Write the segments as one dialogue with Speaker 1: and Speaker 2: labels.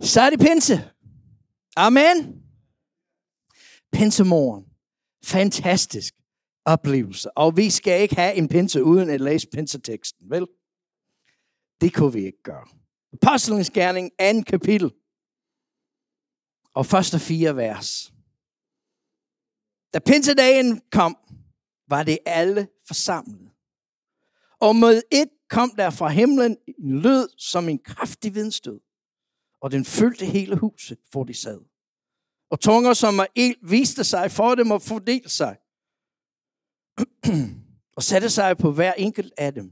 Speaker 1: så er det pinse. Amen. Pinsemorgen. Fantastisk oplevelse. Og vi skal ikke have en pinse uden at læse pinseteksten, vel? Det kunne vi ikke gøre. Apostlenes gerning, anden kapitel. Og første fire vers. Da pinsedagen kom, var det alle forsamlet. Og med et kom der fra himlen en lyd som en kraftig vindstød, og den fyldte hele huset, hvor de sad. Og tunger som af ild viste sig for dem og fordelte sig, og satte sig på hver enkelt af dem.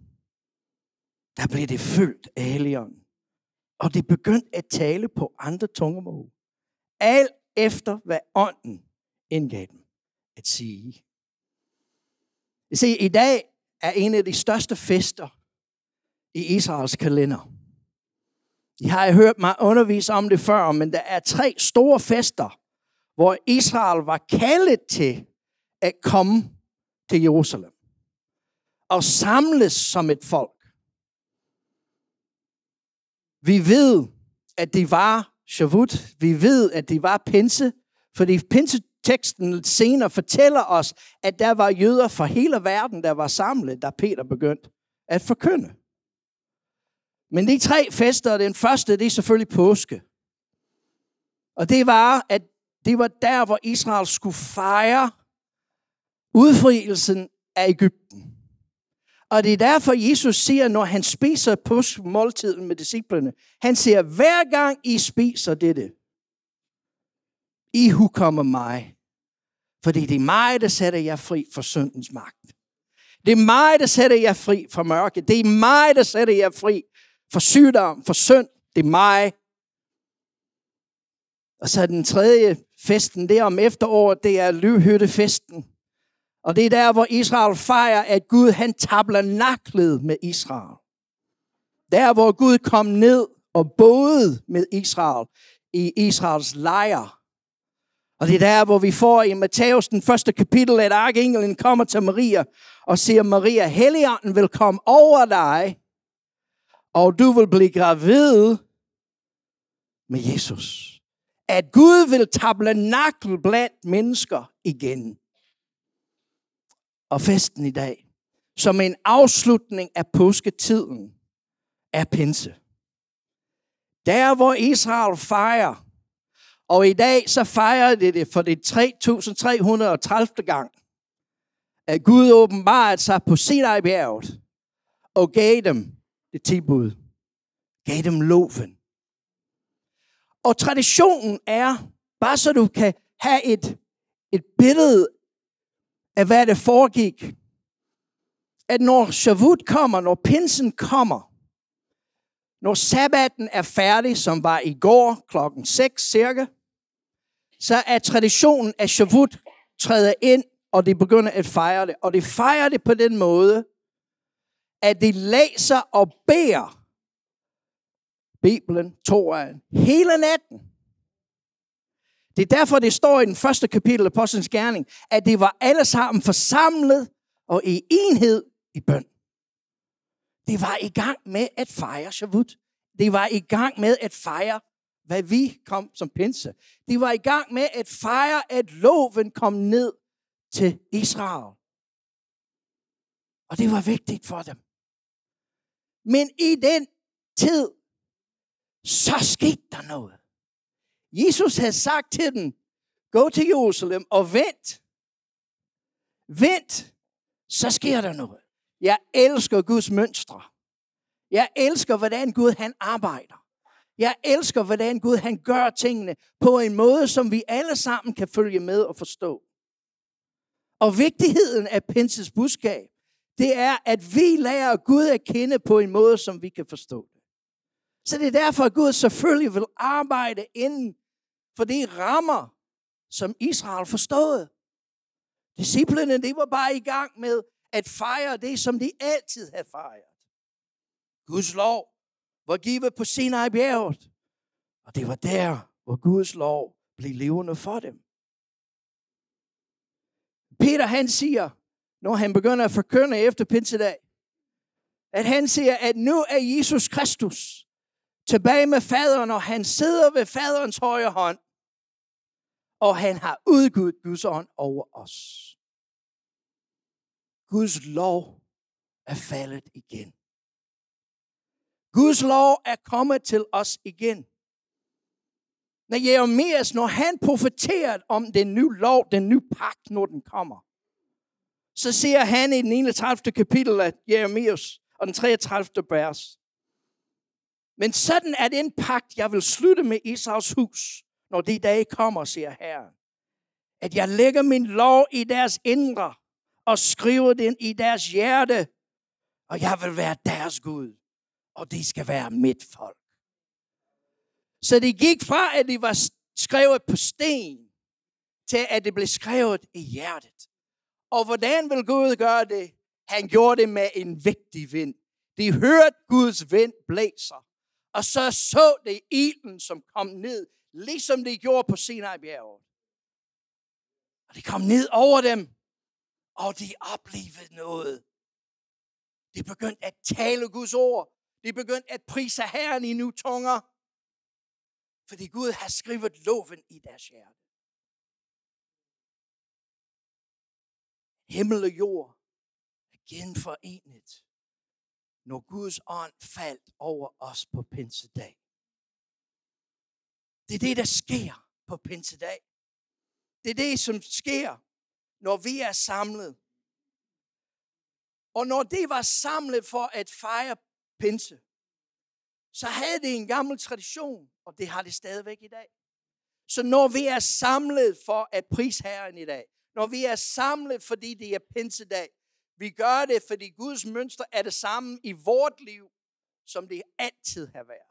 Speaker 1: Der blev det fyldt af helligånden, og det begyndte at tale på andre tungemål. Alt efter hvad ånden indgav dem at sige. I se, i dag er en af de største fester i Israels kalender. I har jeg hørt mig undervise om det før, men der er tre store fester, hvor Israel var kaldet til at komme til Jerusalem og samles som et folk. Vi ved, at det var Shavut. Vi ved, at det var Pinse, fordi Pinse teksten senere fortæller os, at der var jøder fra hele verden, der var samlet, da Peter begyndte at forkynde. Men de tre fester, den første, det er selvfølgelig påske. Og det var, at det var der, hvor Israel skulle fejre udfrielsen af Ægypten. Og det er derfor, Jesus siger, når han spiser påskemåltiden med disciplene, han siger, hver gang I spiser dette, I hukommer mig. Fordi det er mig, der sætter jer fri fra syndens magt. Det er mig, der sætter jer fri fra mørke. Det er mig, der sætter jer fri for sygdom, for synd. Det er mig. Og så den tredje festen, det er om efteråret, det er løvhyttefesten. Og det er der, hvor Israel fejrer, at Gud han tabler naklet med Israel. Der, hvor Gud kom ned og boede med Israel i Israels lejr. Og det er der, hvor vi får i Matthæus den første kapitel, at arkengelen kommer til Maria og siger, Maria, Helligånden vil komme over dig, og du vil blive gravid med Jesus. At Gud vil table nakkel blandt mennesker igen. Og festen i dag, som en afslutning af påsketiden, er pinse. Der, hvor Israel fejrer, og i dag så fejrer det det for det 3330. gang, at Gud åbenbarede sig på Sinai-bjerget og gav dem det tilbud. Gav dem loven. Og traditionen er, bare så du kan have et, et billede af, hvad det foregik, at når Shavut kommer, når pinsen kommer, når sabbaten er færdig, som var i går klokken 6 cirka, så er traditionen, at Shavut træder ind, og de begynder at fejre det. Og de fejrer det på den måde, at de læser og beder Bibelen, Toraen, hele natten. Det er derfor, det står i den første kapitel af Apostlenes Gerning, at det var alle sammen forsamlet og i enhed i bøn. Det var i gang med at fejre Shavut. Det var i gang med at fejre, hvad vi kom som pinse. Det var i gang med at fejre, at loven kom ned til Israel. Og det var vigtigt for dem. Men i den tid, så skete der noget. Jesus havde sagt til dem, gå til Jerusalem og vent. Vent, så sker der noget. Jeg elsker Guds mønstre. Jeg elsker, hvordan Gud han arbejder. Jeg elsker, hvordan Gud han gør tingene på en måde, som vi alle sammen kan følge med og forstå. Og vigtigheden af Pinses budskab, det er, at vi lærer Gud at kende på en måde, som vi kan forstå det. Så det er derfor, at Gud selvfølgelig vil arbejde inden for de rammer, som Israel forstod. Disciplerne, de var bare i gang med at fejre det, som de altid havde fejret. Guds lov var givet på Sinai bjerget. Og det var der, hvor Guds lov blev levende for dem. Peter han siger, når han begynder at forkynde efter pinsedag, at han siger, at nu er Jesus Kristus tilbage med faderen, og han sidder ved faderens højre hånd, og han har udgivet Guds ånd over os. Guds lov er faldet igen. Guds lov er kommet til os igen. Når Jeremias, når han profeterer om den nye lov, den nye pagt, når den kommer, så siger han i den 31. kapitel af Jeremias og den 33. vers, men sådan er den pagt, jeg vil slutte med Israels hus, når de dage kommer, siger Herren. At jeg lægger min lov i deres indre og skriver den i deres hjerte, og jeg vil være deres Gud, og de skal være mit folk. Så det gik fra, at det var skrevet på sten, til at det blev skrevet i hjertet. Og hvordan vil Gud gøre det? Han gjorde det med en vigtig vind. De hørte Guds vind blæser. Og så så det ilden, som kom ned, ligesom det gjorde på Sinai-bjerget. Og det kom ned over dem, og de oplevede noget. De begyndte at tale Guds ord. De begyndte at prise Herren i nu tunger. Fordi Gud har skrevet loven i deres hjerte. Himmel og jord er genforenet når Guds ånd faldt over os på pinsedag. Det er det, der sker på pinsedag. Det er det, som sker, når vi er samlet. Og når det var samlet for at fejre pinse, så havde det en gammel tradition, og det har det stadigvæk i dag. Så når vi er samlet for at prise Herren i dag, når vi er samlet, fordi det er pinsedag, vi gør det, fordi Guds mønster er det samme i vort liv, som det altid har været.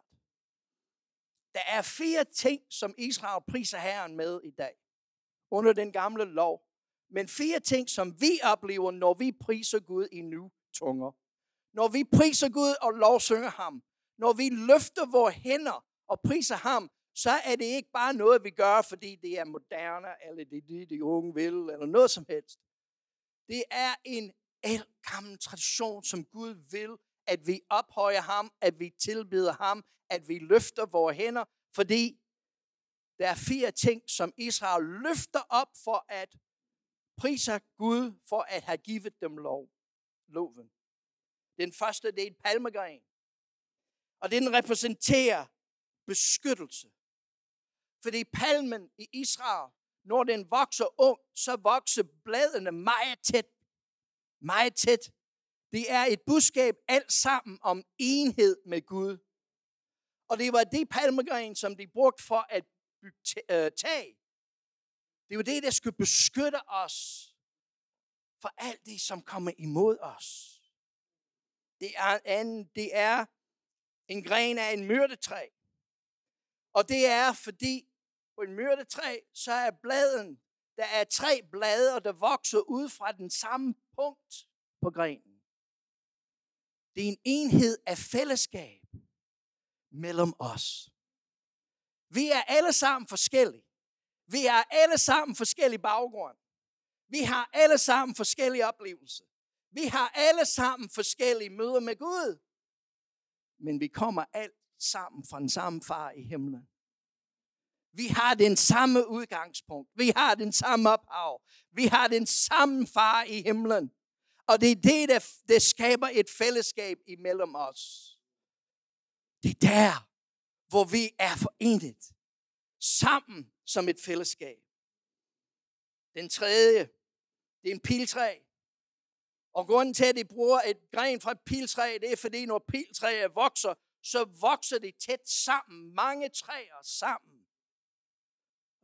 Speaker 1: Der er fire ting, som Israel priser Herren med i dag, under den gamle lov. Men fire ting, som vi oplever, når vi priser Gud i nu tunger. Når vi priser Gud og lovsynger ham. Når vi løfter vores hænder og priser ham, så er det ikke bare noget, vi gør, fordi det er moderne, eller det er det, de unge vil, eller noget som helst. Det er en gammel tradition, som Gud vil, at vi ophøjer ham, at vi tilbeder ham, at vi løfter vores hænder, fordi der er fire ting, som Israel løfter op for at prise Gud for at have givet dem lov, loven. Den første, det er en palmegren. Og den repræsenterer beskyttelse. Fordi palmen i Israel, når den vokser ung, så vokser bladene meget tæt meget tæt. Det er et budskab alt sammen om enhed med Gud. Og det var det palmegren, som de brugte for at bygge øh, tag. Det var det, der skulle beskytte os for alt det, som kommer imod os. Det er, anden, det er en gren af en myrdetræ. Og det er, fordi på en myrdetræ, så er bladen der er tre blade, der vokser ud fra den samme punkt på grenen. Det er en enhed af fællesskab mellem os. Vi er alle sammen forskellige. Vi er alle sammen forskellige baggrund. Vi har alle sammen forskellige oplevelser. Vi har alle sammen forskellige møder med Gud. Men vi kommer alt sammen fra den samme far i himlen. Vi har den samme udgangspunkt. Vi har den samme ophav. Vi har den samme far i himlen. Og det er det, der, der skaber et fællesskab imellem os. Det er der, hvor vi er forenet. Sammen som et fællesskab. Den tredje, det er en piltræ. Og grunden til, at de bruger et gren fra et piltræ, det er fordi, når piltræer vokser, så vokser de tæt sammen. Mange træer sammen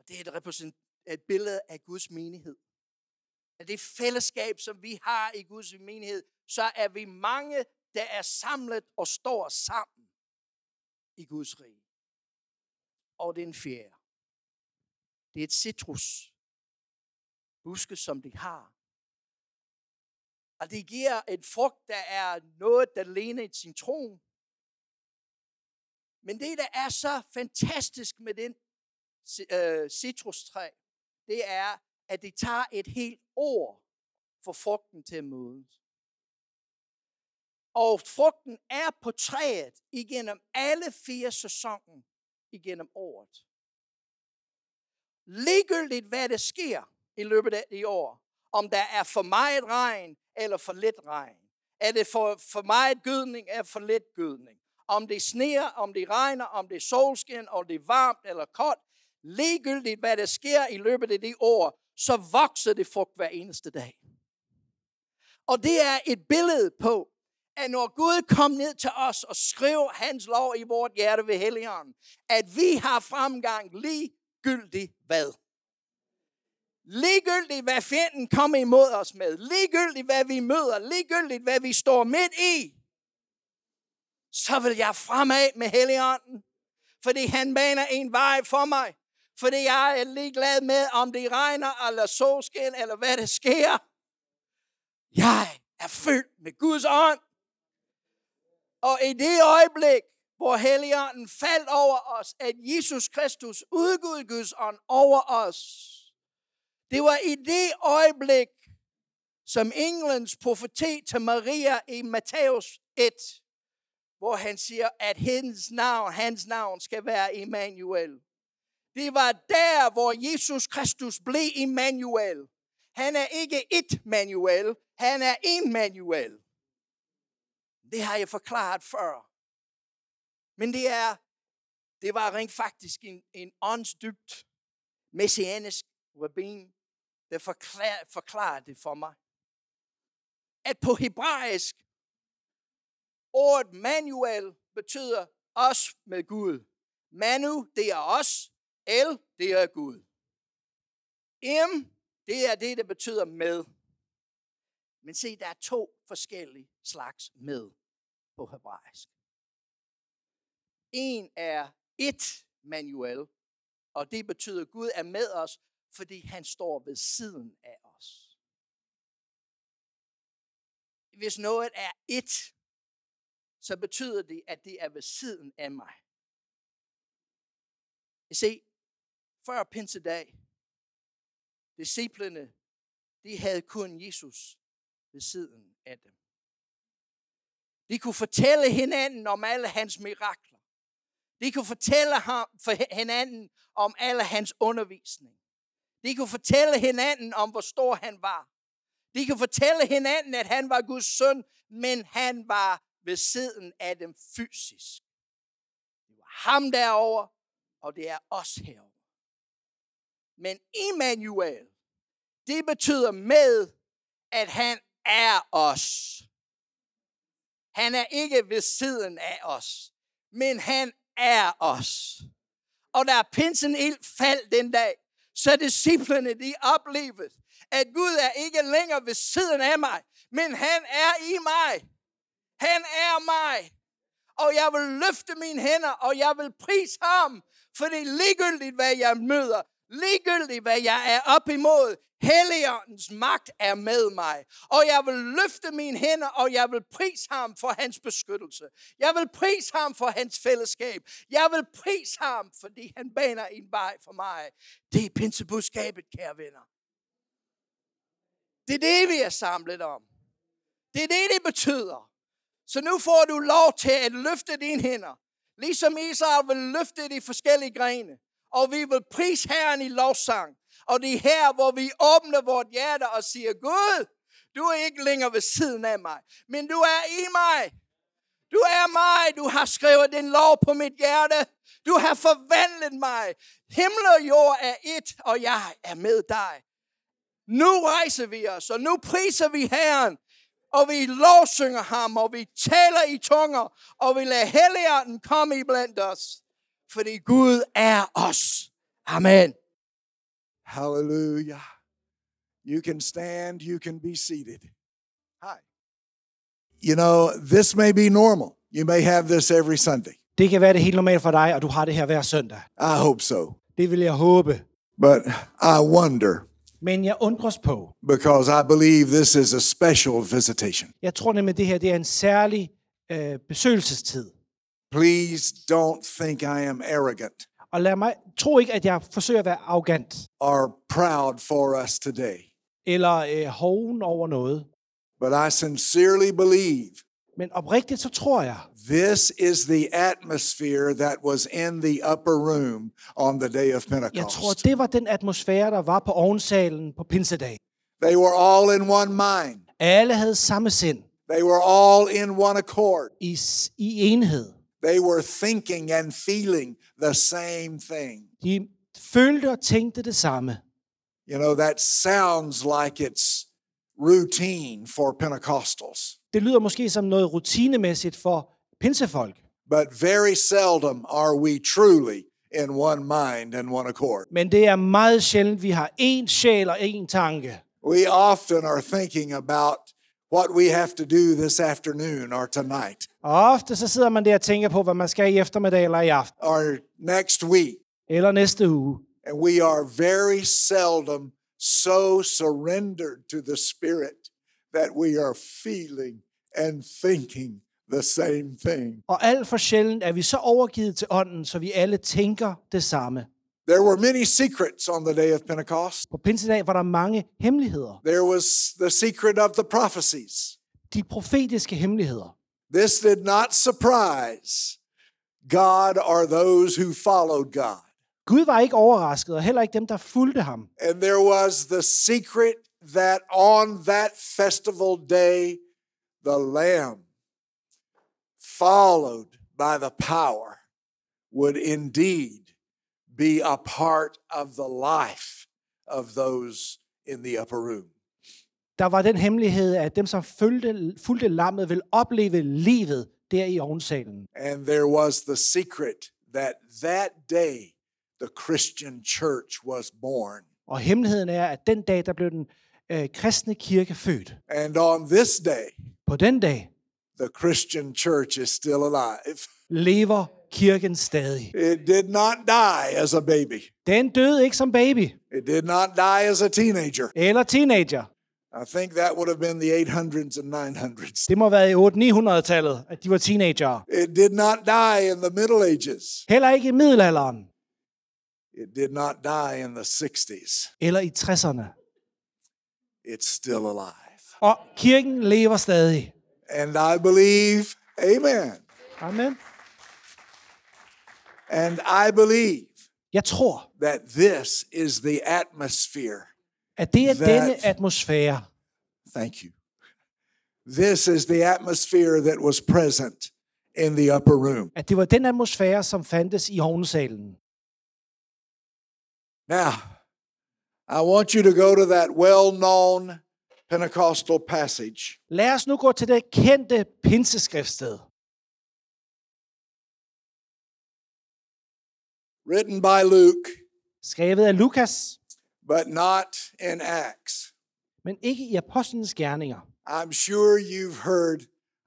Speaker 1: det er et, et billede af Guds menighed. Af det fællesskab, som vi har i Guds menighed, så er vi mange, der er samlet og står sammen i Guds rige. Og den fjerde, det er et citrus. Buske, som de har. Og det giver en frugt, der er noget, der ligner en citron. Men det, der er så fantastisk med den øh, citrustræ, det er, at det tager et helt år for frugten til at mødes. Og frugten er på træet igennem alle fire sæsoner igennem året. Ligegyldigt hvad der sker i løbet af i år, om der er for meget regn eller for lidt regn, er det for, for meget gødning eller for lidt gødning, om det sneer, om det regner, om det er solskin, om det er varmt eller koldt, ligegyldigt hvad der sker i løbet af det år, så vokser det frugt hver eneste dag. Og det er et billede på, at når Gud kom ned til os og skrev hans lov i vort hjerte ved Helligånden, at vi har fremgang ligegyldigt hvad. Ligegyldigt hvad fjenden kommer imod os med, ligegyldigt hvad vi møder, ligegyldigt hvad vi står midt i, så vil jeg fremad med Helligånden, fordi han baner en vej for mig. Fordi jeg er ligeglad med, om det regner, eller solskin, eller hvad der sker. Jeg er fyldt med Guds ånd. Og i det øjeblik, hvor Helligånden faldt over os, at Jesus Kristus udgud Guds ånd over os, det var i det øjeblik, som Englands profeti til Maria i Matthæus 1, hvor han siger, at hendes navn, hans navn skal være Emmanuel. Det var der, hvor Jesus Kristus blev Emmanuel. Han er ikke et manuel, han er en manuel. Det har jeg forklaret før. Men det er, det var rent faktisk en, en åndsdybt messianisk rabbin, der forklar, forklarede det for mig. At på hebraisk, Ordet manuel betyder os med Gud. Manu, det er os. El, det er Gud. Im, det er det, der betyder med. Men se, der er to forskellige slags med på hebraisk. En er et manuel, og det betyder, at Gud er med os, fordi han står ved siden af os. Hvis noget er et så betyder det, at det er ved siden af mig. I se, før pinsedag, disciplene, de havde kun Jesus ved siden af dem. De kunne fortælle hinanden om alle hans mirakler. De kunne fortælle ham, for hinanden om alle hans undervisning. De kunne fortælle hinanden om, hvor stor han var. De kunne fortælle hinanden, at han var Guds søn, men han var ved siden af dem fysisk. Det var ham derover, og det er os herover. Men Emmanuel, det betyder med, at han er os. Han er ikke ved siden af os, men han er os. Og da pinsen ild faldt den dag, så disciplene de oplevede, at Gud er ikke længere ved siden af mig, men han er i mig. Han er mig. Og jeg vil løfte mine hænder, og jeg vil prise ham. For det er ligegyldigt, hvad jeg møder. Ligegyldigt, hvad jeg er op imod. Helligåndens magt er med mig. Og jeg vil løfte mine hænder, og jeg vil prise ham for hans beskyttelse. Jeg vil prise ham for hans fællesskab. Jeg vil prise ham, fordi han baner en vej for mig. Det er pinsebudskabet, kære venner. Det er det, vi er samlet om. Det er det, det betyder. Så nu får du lov til at løfte dine hænder, ligesom Israel vil løfte de forskellige grene. Og vi vil prise Herren i lovsang. Og det er her, hvor vi åbner vort hjerte og siger, Gud, du er ikke længere ved siden af mig, men du er i mig. Du er mig, du har skrevet din lov på mit hjerte. Du har forvandlet mig. Himmel og jord er et, og jeg er med dig. Nu rejser vi os, og nu priser vi Herren og vi lovsynger ham, og vi taler i tunger, og vi lader Helligånden komme i blandt os, fordi Gud er os. Amen.
Speaker 2: Hallelujah. You can stand, you can be seated. Hi. You know, this may be normal. You may have this every Sunday.
Speaker 3: Det kan være det helt normalt for dig, og du har det her hver søndag.
Speaker 2: I hope so.
Speaker 3: Det vil jeg håbe.
Speaker 2: But I wonder
Speaker 3: Men jeg undres på.
Speaker 2: because I believe this is a special visitation.
Speaker 3: Jeg tror nemlig, at det her det er en særlig øh, besøgelsestid.
Speaker 2: Please don't think I am arrogant
Speaker 3: Og lad mig tro ikke, at jeg forsøger at være arrogant
Speaker 2: or proud for us today,
Speaker 3: eller øh, hoven over noget.
Speaker 2: but I sincerely believe
Speaker 3: Men oprigtigt, så tror jeg,
Speaker 2: This is the atmosphere that was in the upper room on the day of
Speaker 3: jeg tror,
Speaker 2: Pentecost.
Speaker 3: det var den atmosfære, der var på ovnsalen på Pinsedag.
Speaker 2: They were all in one mind,
Speaker 3: Alle havde samme sind
Speaker 2: they were all in one accord.
Speaker 3: i, s- i enhed.
Speaker 2: They were thinking and feeling the same thing.
Speaker 3: De følte og tænkte det samme.
Speaker 2: You know, that sounds like it's routine for Pentecostals,
Speaker 3: Det lyder måske som noget rutinemæssigt for pinsefolk,
Speaker 2: but very seldom are we truly in one mind and one accord.
Speaker 3: men det er meget sjældent, vi har én sjæl og én tanke.
Speaker 2: We often are thinking about what we have to do this afternoon or tonight
Speaker 3: Og ofte så sidder man der og tænker på, hvad man skal i eftermiddag eller i aften,
Speaker 2: or next week,
Speaker 3: eller næste uge.
Speaker 2: and we are very seldom so surrendered to the Spirit that we are feeling and thinking the same thing.
Speaker 3: Og alt for sjældent er vi så overgivet til ånden, så vi alle tænker det samme.
Speaker 2: There were many secrets on the day of Pentecost.
Speaker 3: På pinsedag var der mange hemmeligheder.
Speaker 2: There was the secret of the prophecies.
Speaker 3: De profetiske hemmeligheder.
Speaker 2: This did not surprise God or those who followed God.
Speaker 3: Gud var ikke overrasket, og heller ikke dem, der fulgte ham.
Speaker 2: And there was the secret that on that festival day, the Lamb, followed by the power, would indeed be a part of the life of those in the upper room.
Speaker 3: Der var den hemmelighed, at dem, som fulgte, fulgte lammet, ville opleve livet der i ovnsalen.
Speaker 2: And there was the secret that that day the Christian church was born.
Speaker 3: Og hemmeligheden er, at den dag, der blev den øh, kristne kirke født.
Speaker 2: And on this day,
Speaker 3: På den dag
Speaker 2: the Christian church is still alive.
Speaker 3: lever kirken stadig.
Speaker 2: It did not die as a baby,
Speaker 3: Den døde ikke som baby
Speaker 2: it did not die as a teenager.
Speaker 3: eller teenager.
Speaker 2: I think that would have been the 800s and 900s.
Speaker 3: Det må have været i 800-900-tallet, at de var teenagere.
Speaker 2: It did not die in the Middle Ages.
Speaker 3: Heller ikke i middelalderen
Speaker 2: It did not die in the 60s.
Speaker 3: eller i 60'erne.
Speaker 2: It's still alive.
Speaker 3: Og kirken lever stadig.
Speaker 2: And I believe, amen.
Speaker 3: Amen.
Speaker 2: And I believe
Speaker 3: Jeg tror,
Speaker 2: that this is the atmosphere.
Speaker 3: at det er
Speaker 2: That-
Speaker 3: denne atmosfære,
Speaker 2: Thank you. This is the atmosphere that was present in the upper room.
Speaker 3: at det var den atmosfære, som fandtes i ovnsalen.
Speaker 2: Now, I want you to go to that well known Pentecostal passage,
Speaker 3: Lad os nu gå til det kendte pinseskriftsted,
Speaker 2: written by Luke,
Speaker 3: skrevet af Lukas,
Speaker 2: but not in Acts.
Speaker 3: men ikke i Apostlenes Gerninger.
Speaker 2: I'm sure you've heard,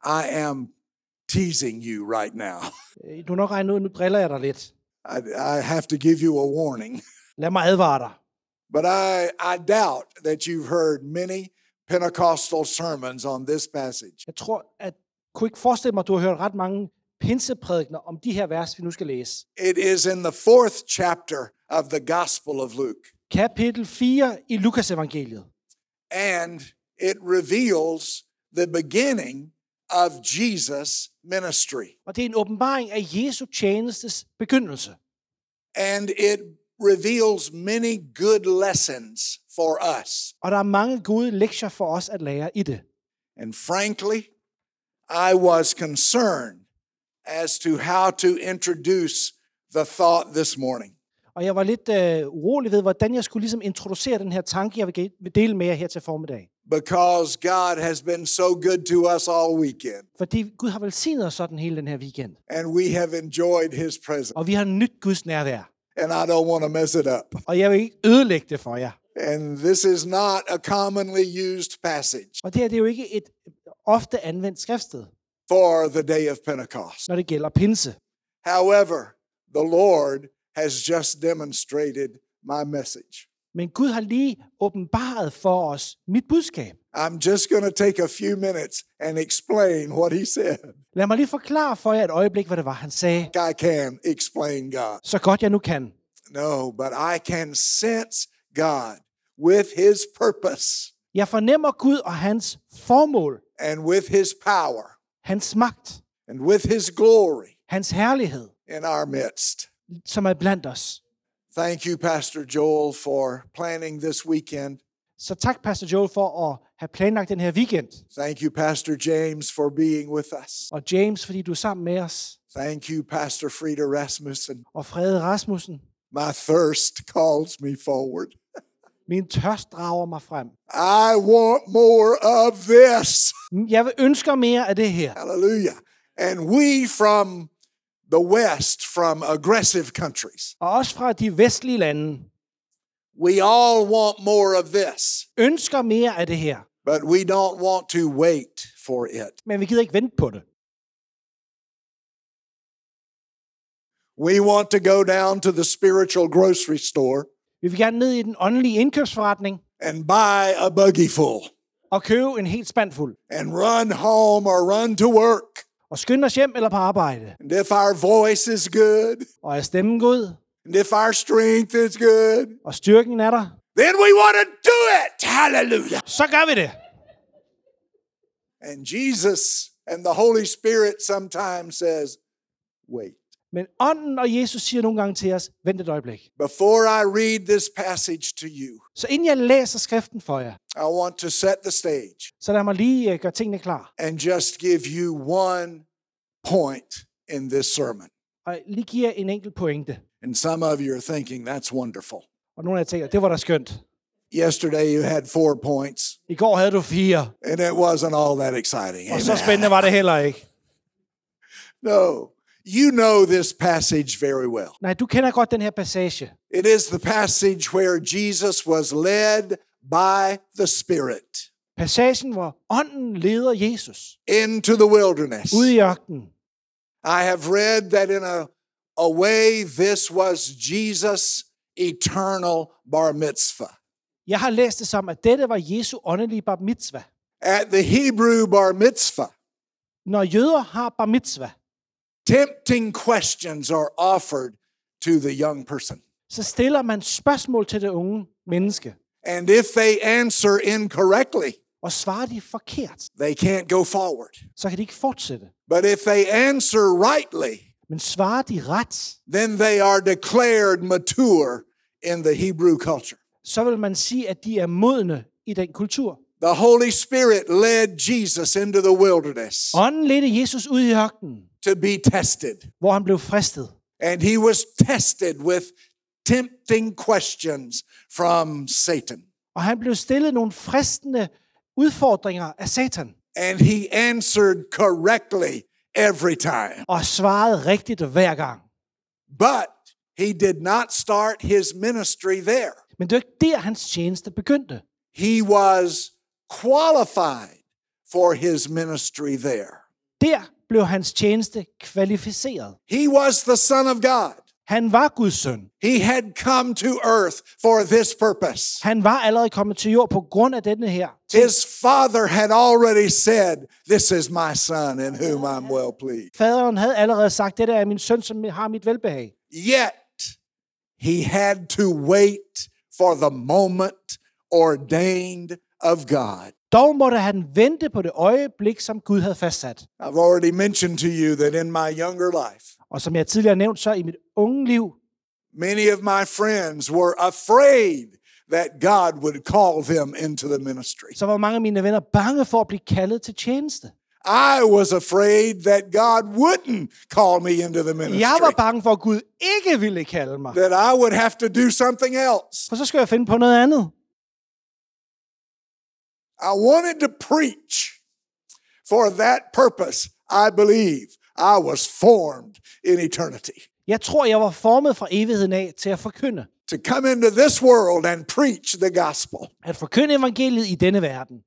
Speaker 2: I am teasing you right now.
Speaker 3: Øh, Du har nok regnet ud, nu driller jeg dig lidt.
Speaker 2: I, I have to give you a warning.
Speaker 3: Lad mig advare dig.
Speaker 2: But I, I doubt that you've heard many Pentecostal sermons on this passage.
Speaker 3: Jeg tror, at kunne ikke forestille mig, at du har hørt ret mange pinseprædikner om de her vers, vi nu skal læse.
Speaker 2: It is in the fourth chapter of the Gospel of Luke,
Speaker 3: Kapitel 4 i Lukas evangeliet.
Speaker 2: and it reveals the beginning of Jesus' ministry.
Speaker 3: Og det er en åbenbaring af Jesu tjenestes begyndelse.
Speaker 2: And it reveals many good lessons for us.
Speaker 3: Og der er mange gode lektier for os at lære i det.
Speaker 2: And frankly, I was concerned as to how to introduce the thought this morning.
Speaker 3: Og jeg var lidt øh, urolig ved, hvordan jeg skulle ligesom introducere den her tanke, jeg vil ge- vil dele med jer her til formiddag.
Speaker 2: because God has been so good to us all weekend
Speaker 3: Fordi Gud har velsignet os sådan hele den her weekend.
Speaker 2: and we have enjoyed his presence.
Speaker 3: Og vi har nyt Guds nærvær.
Speaker 2: And I don't want to mess it up.
Speaker 3: Og jeg vil ikke ødelægge det for jer.
Speaker 2: And this is not a commonly used passage
Speaker 3: Og det her det er jo ikke et øh, ofte anvendt skriftsted,
Speaker 2: for the day of Pentecost.
Speaker 3: når det gælder pinse.
Speaker 2: However, the Lord has just demonstrated my message.
Speaker 3: Men Gud har lige åbenbaret for os mit budskab.
Speaker 2: I'm just going to take a few minutes and explain what he said.
Speaker 3: Lad mig lige forklare for jer et øjeblik, hvad det var, han sagde.
Speaker 2: I can explain God.
Speaker 3: Så godt jeg nu kan.
Speaker 2: No, but I can sense God with his purpose
Speaker 3: Jeg fornemmer Gud og hans formål
Speaker 2: and with his power.
Speaker 3: hans magt,
Speaker 2: and with his glory
Speaker 3: hans herlighed,
Speaker 2: in our midst.
Speaker 3: som er blandt os.
Speaker 2: Thank you, Pastor Joel, for planning this weekend.
Speaker 3: Så tak, Pastor Joel, for at have planlagt den her weekend.
Speaker 2: Thank you, Pastor James, for being with us.
Speaker 3: Og James, fordi du er sammen med os.
Speaker 2: Thank you, Pastor Frida Rasmussen.
Speaker 3: Og Frede Rasmussen,
Speaker 2: My thirst calls me forward.
Speaker 3: min tørst drager mig frem.
Speaker 2: I want more of this.
Speaker 3: Jeg vil ønsker mere af det her.
Speaker 2: Hallelujah. And we from the West, from aggressive countries,
Speaker 3: Og også fra de vestlige lande
Speaker 2: we all want more of this,
Speaker 3: ønsker mere af det her.
Speaker 2: but we don't want to wait for it.
Speaker 3: Men vi gider ikke vente på det.
Speaker 2: We want to go down to the spiritual grocery store
Speaker 3: Vi vil gerne ned i den åndelige indkøbsforretning
Speaker 2: and buy a buggy full
Speaker 3: og købe en helt spand fuld.
Speaker 2: and run home or run to work.
Speaker 3: Og skynde os hjem eller på arbejde.
Speaker 2: And if our voice is good,
Speaker 3: Og er stemmen god,
Speaker 2: and if our strength is good,
Speaker 3: og styrken er der,
Speaker 2: then we want to do it. Hallelujah.
Speaker 3: så gør vi det.
Speaker 2: And Jesus and the Holy Spirit sometimes says, wait.
Speaker 3: Men ånden og Jesus siger nogle gange til os, vent et øjeblik.
Speaker 2: Before I read this passage to you,
Speaker 3: Så inden jeg læser skriften for jer,
Speaker 2: I want to set the stage
Speaker 3: så lad mig lige øh, gøre tingene klar.
Speaker 2: and just give you one point in this sermon.
Speaker 3: Og lige give jer en enkelt pointe.
Speaker 2: And some of you are thinking, that's wonderful.
Speaker 3: Og nogle af jer tænker, det var da skønt.
Speaker 2: Yesterday you had four points,
Speaker 3: I går havde du fire,
Speaker 2: and it wasn't all that exciting.
Speaker 3: og så
Speaker 2: Amen.
Speaker 3: spændende var det heller ikke.
Speaker 2: No, you know this passage very well.
Speaker 3: Nej, du kender godt den her passage.
Speaker 2: It is the passage where Jesus was led by the Spirit
Speaker 3: Passagen, hvor ånden leder Jesus
Speaker 2: into the wilderness.
Speaker 3: ude i ørkenen.
Speaker 2: I have read that in a, a way this was Jesus' eternal bar mitzvah.
Speaker 3: Jeg har læst det som, at dette var Jesu åndelige bar mitzvah.
Speaker 2: At the Hebrew bar mitzvah,
Speaker 3: Når jøder har bar mitzvah,
Speaker 2: tempting questions are offered to the young person.
Speaker 3: så stiller man spørgsmål til det unge menneske.
Speaker 2: And if they answer incorrectly,
Speaker 3: Og svarer de forkert,
Speaker 2: they can't go forward.
Speaker 3: så kan de ikke fortsætte.
Speaker 2: But if they answer rightly,
Speaker 3: Men svarer de ret,
Speaker 2: then they are declared mature in the Hebrew culture.
Speaker 3: så vil man sige, at de er modne i den kultur.
Speaker 2: The Holy Spirit led Jesus into the wilderness
Speaker 3: Ånden ledte Jesus ud i ørkenen,
Speaker 2: to be tested.
Speaker 3: hvor han blev fristet.
Speaker 2: And he was tested with tempting questions from Satan.
Speaker 3: Og han blev stillet nogle fristende udfordringer af Satan.
Speaker 2: And he answered correctly every time.
Speaker 3: Og svarede rigtigt hver gang.
Speaker 2: But he did not start his ministry there.
Speaker 3: Men det var ikke der, hans tjeneste begyndte.
Speaker 2: He was qualified for his ministry there.
Speaker 3: Der blev hans tjeneste kvalificeret.
Speaker 2: He was the Son of God.
Speaker 3: Han var Guds søn.
Speaker 2: He had come to earth for this purpose.
Speaker 3: Han var allerede kommet til jord på grund af denne her.
Speaker 2: His Father had already said, This is my Son in whom I'm well pleased.
Speaker 3: Faderen havde allerede sagt, det der er min søn, som har mit velbehag.
Speaker 2: Yet he had to wait for the moment ordained of God.
Speaker 3: Dog måtte han vente på det øjeblik, som Gud havde fastsat.
Speaker 2: I've already mentioned to you that in my younger life,
Speaker 3: Og som jeg tidligere nævnte, så i mit unge liv,
Speaker 2: many of my friends were afraid that God would call them into the ministry.
Speaker 3: så var mange af mine venner bange for at blive kaldet til tjeneste.
Speaker 2: I was afraid that God wouldn't call me into the ministry,
Speaker 3: Jeg var bange for, at Gud ikke ville kalde mig.
Speaker 2: that I would have to do something else.
Speaker 3: For så skal jeg finde på noget andet.
Speaker 2: I wanted to preach. For that purpose, I believe I was formed in eternity.
Speaker 3: Jeg tror, jeg var formet fra evigheden af til at forkynde.
Speaker 2: To come into this world and preach the gospel.
Speaker 3: At forkynde evangeliet i denne verden.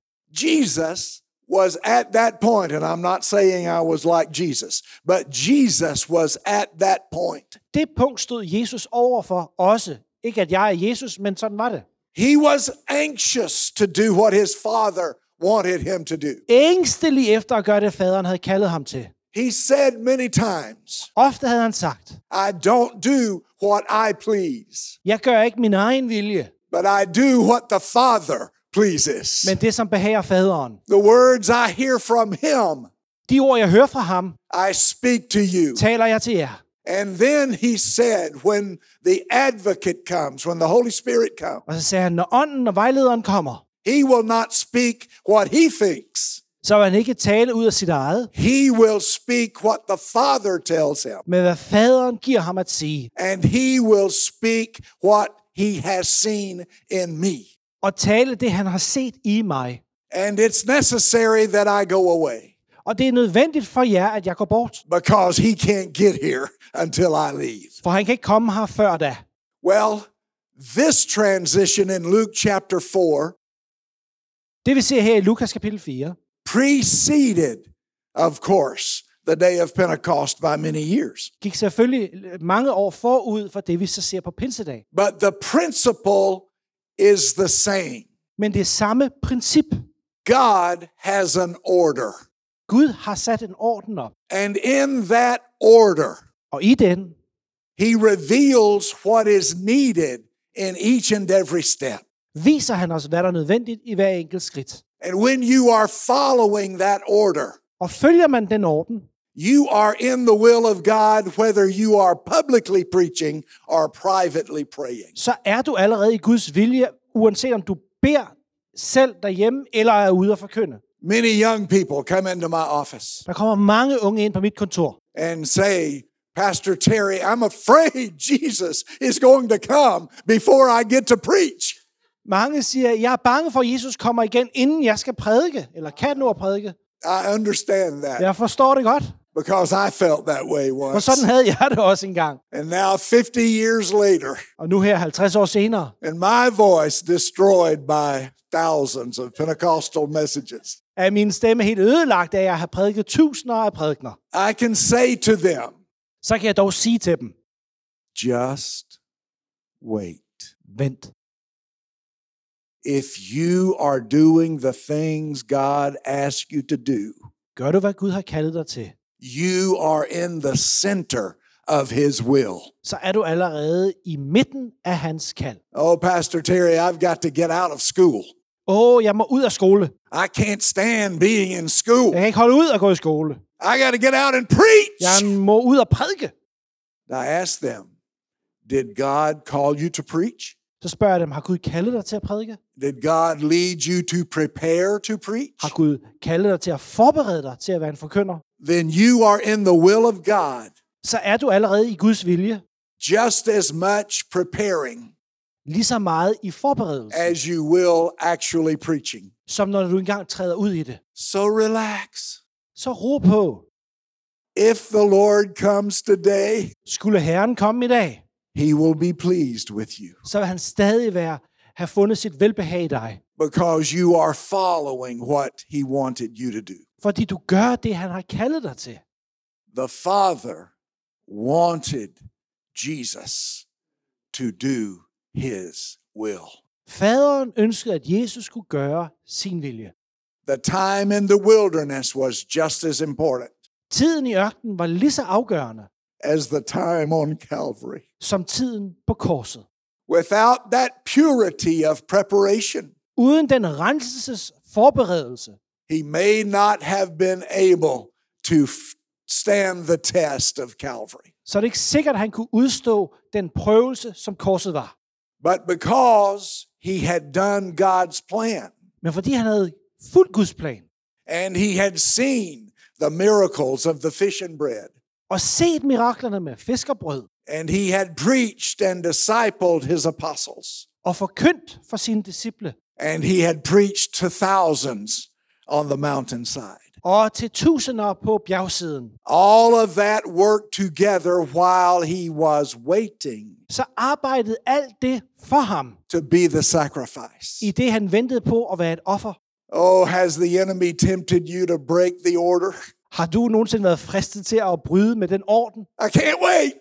Speaker 2: Jesus was at that point, and I'm not saying I was like Jesus, but Jesus was at that point.
Speaker 3: Det punkt stod Jesus over for også. Ikke at jeg er Jesus, men sådan var det.
Speaker 2: He was anxious to do what his father wanted him to do.
Speaker 3: Ængstelig efter at gøre det, faderen havde kaldet ham til.
Speaker 2: He said many times,
Speaker 3: Ofte havde han sagt,
Speaker 2: I don't do what I please.
Speaker 3: jeg gør ikke min egen vilje,
Speaker 2: but I do what the Father pleases.
Speaker 3: men det, som behager faderen.
Speaker 2: The words I hear from Him,
Speaker 3: De ord, jeg hører fra ham,
Speaker 2: I speak to you.
Speaker 3: taler jeg til jer.
Speaker 2: And then he said, when the advocate comes, when the Holy Spirit comes,
Speaker 3: Og så sagde han, når ånden og vejlederen kommer,
Speaker 2: he will not speak what he thinks.
Speaker 3: så vil han ikke tale ud af sit eget,
Speaker 2: He will speak what the Father tells him.
Speaker 3: men hvad faderen giver ham at sige,
Speaker 2: And he will speak what he has seen in me.
Speaker 3: og tale det, han har set i mig.
Speaker 2: And it's necessary that I go away
Speaker 3: Og det er nødvendigt for jer, at jeg går bort,
Speaker 2: because he can't get here until I leave.
Speaker 3: for han kan ikke komme her før da.
Speaker 2: Well, this transition in Luke chapter 4
Speaker 3: Det vi ser her i Lukas kapitel 4,
Speaker 2: preceded, of course, the day of Pentecost by many years.
Speaker 3: gik selvfølgelig mange år forud for det, vi så ser på pinsedag.
Speaker 2: But the principle is the same
Speaker 3: Men det er samme princip.
Speaker 2: God has an order.
Speaker 3: Gud har sat en orden op,
Speaker 2: And in that order,
Speaker 3: og i den,
Speaker 2: He reveals what is needed in each and every step.
Speaker 3: viser han os, hvad der er nødvendigt i hver enkelt skridt.
Speaker 2: And when you are following that order,
Speaker 3: Og følger man den orden,
Speaker 2: you are in the will of God, whether you are publicly preaching or privately praying.
Speaker 3: så er du allerede i Guds vilje, uanset om du beder selv derhjemme eller er ude og forkynde.
Speaker 2: Many young people come into my office
Speaker 3: Der kommer mange unge ind på mit kontor
Speaker 2: and say, Pastor Terry, I'm afraid Jesus is going to come before I get to preach.
Speaker 3: Mange siger, jeg er bange for, at Jesus kommer igen, inden jeg skal prædike, eller kan nå at prædike.
Speaker 2: I understand that
Speaker 3: Jeg forstår det godt,
Speaker 2: because I felt that way
Speaker 3: for
Speaker 2: once.
Speaker 3: sådan havde jeg det også engang.
Speaker 2: And now, 50 years later,
Speaker 3: Og nu her 50 år senere,
Speaker 2: and my voice destroyed by thousands of Pentecostal messages.
Speaker 3: er min stemme helt ødelagt, af at jeg har prædiket tusinder af prædikner.
Speaker 2: I can say to them,
Speaker 3: Så kan jeg dog sige til dem,
Speaker 2: just wait.
Speaker 3: vent.
Speaker 2: If you are doing the things God asks you to do,
Speaker 3: Gør du, hvad Gud har kaldet dig til,
Speaker 2: you are in the center of His will.
Speaker 3: så er du allerede i midten af hans kald.
Speaker 2: Oh, Pastor Terry, I've got to get out of school.
Speaker 3: Åh, jeg må ud af skole.
Speaker 2: I can't stand being in school.
Speaker 3: Jeg kan ikke holde ud at gå i skole.
Speaker 2: I got to get out and preach.
Speaker 3: Jeg må ud og prædike.
Speaker 2: I asked them, Did God call you to preach?
Speaker 3: Så spørger jeg dem, har Gud kaldet dig til at prædike?
Speaker 2: Did God lead you to prepare to preach?
Speaker 3: Har Gud kaldet dig til at forberede dig til at være en forkynder?
Speaker 2: Then you are in the will of God
Speaker 3: Så er du allerede i Guds vilje
Speaker 2: just as much preparing
Speaker 3: lige så meget i forberedelse,
Speaker 2: as you will actually preaching.
Speaker 3: som når du engang træder ud i det.
Speaker 2: So relax.
Speaker 3: Så ro på.
Speaker 2: If the Lord comes today,
Speaker 3: Skulle Herren komme i dag,
Speaker 2: he will be pleased with you
Speaker 3: så vil han stadig være, have fundet sit velbehag i dig,
Speaker 2: because you are following what he wanted you to do.
Speaker 3: fordi du gør det, han har kaldet dig til.
Speaker 2: The Father wanted Jesus to do his will.
Speaker 3: Faderen ønskede, at Jesus skulle gøre sin vilje.
Speaker 2: The time in the wilderness was just as important
Speaker 3: Tiden i ørkenen var lige så afgørende
Speaker 2: as the time on Calvary.
Speaker 3: som tiden på korset.
Speaker 2: Without that purity of preparation,
Speaker 3: Uden den renselses forberedelse,
Speaker 2: he may not have been able to f- stand the test of Calvary.
Speaker 3: så er det ikke sikkert, at han kunne udstå den prøvelse, som korset var.
Speaker 2: But because he had done God's plan
Speaker 3: Men fordi han havde fuldt Guds plan,
Speaker 2: and he had seen the miracles of the fish and bread,
Speaker 3: og set miraklerne med fisk og brød,
Speaker 2: and he had preached and discipled his apostles,
Speaker 3: og forkyndt for sine disciple,
Speaker 2: and he had preached to thousands on the mountainside.
Speaker 3: og til tusinder på bjergsiden,
Speaker 2: All of that worked together while he was waiting
Speaker 3: så arbejdede alt det for ham,
Speaker 2: to be the sacrifice.
Speaker 3: i det han ventede på at være et offer.
Speaker 2: Oh, has the enemy tempted you to break the order?
Speaker 3: Har du nogensinde været fristet til at bryde med den orden?
Speaker 2: I can't wait.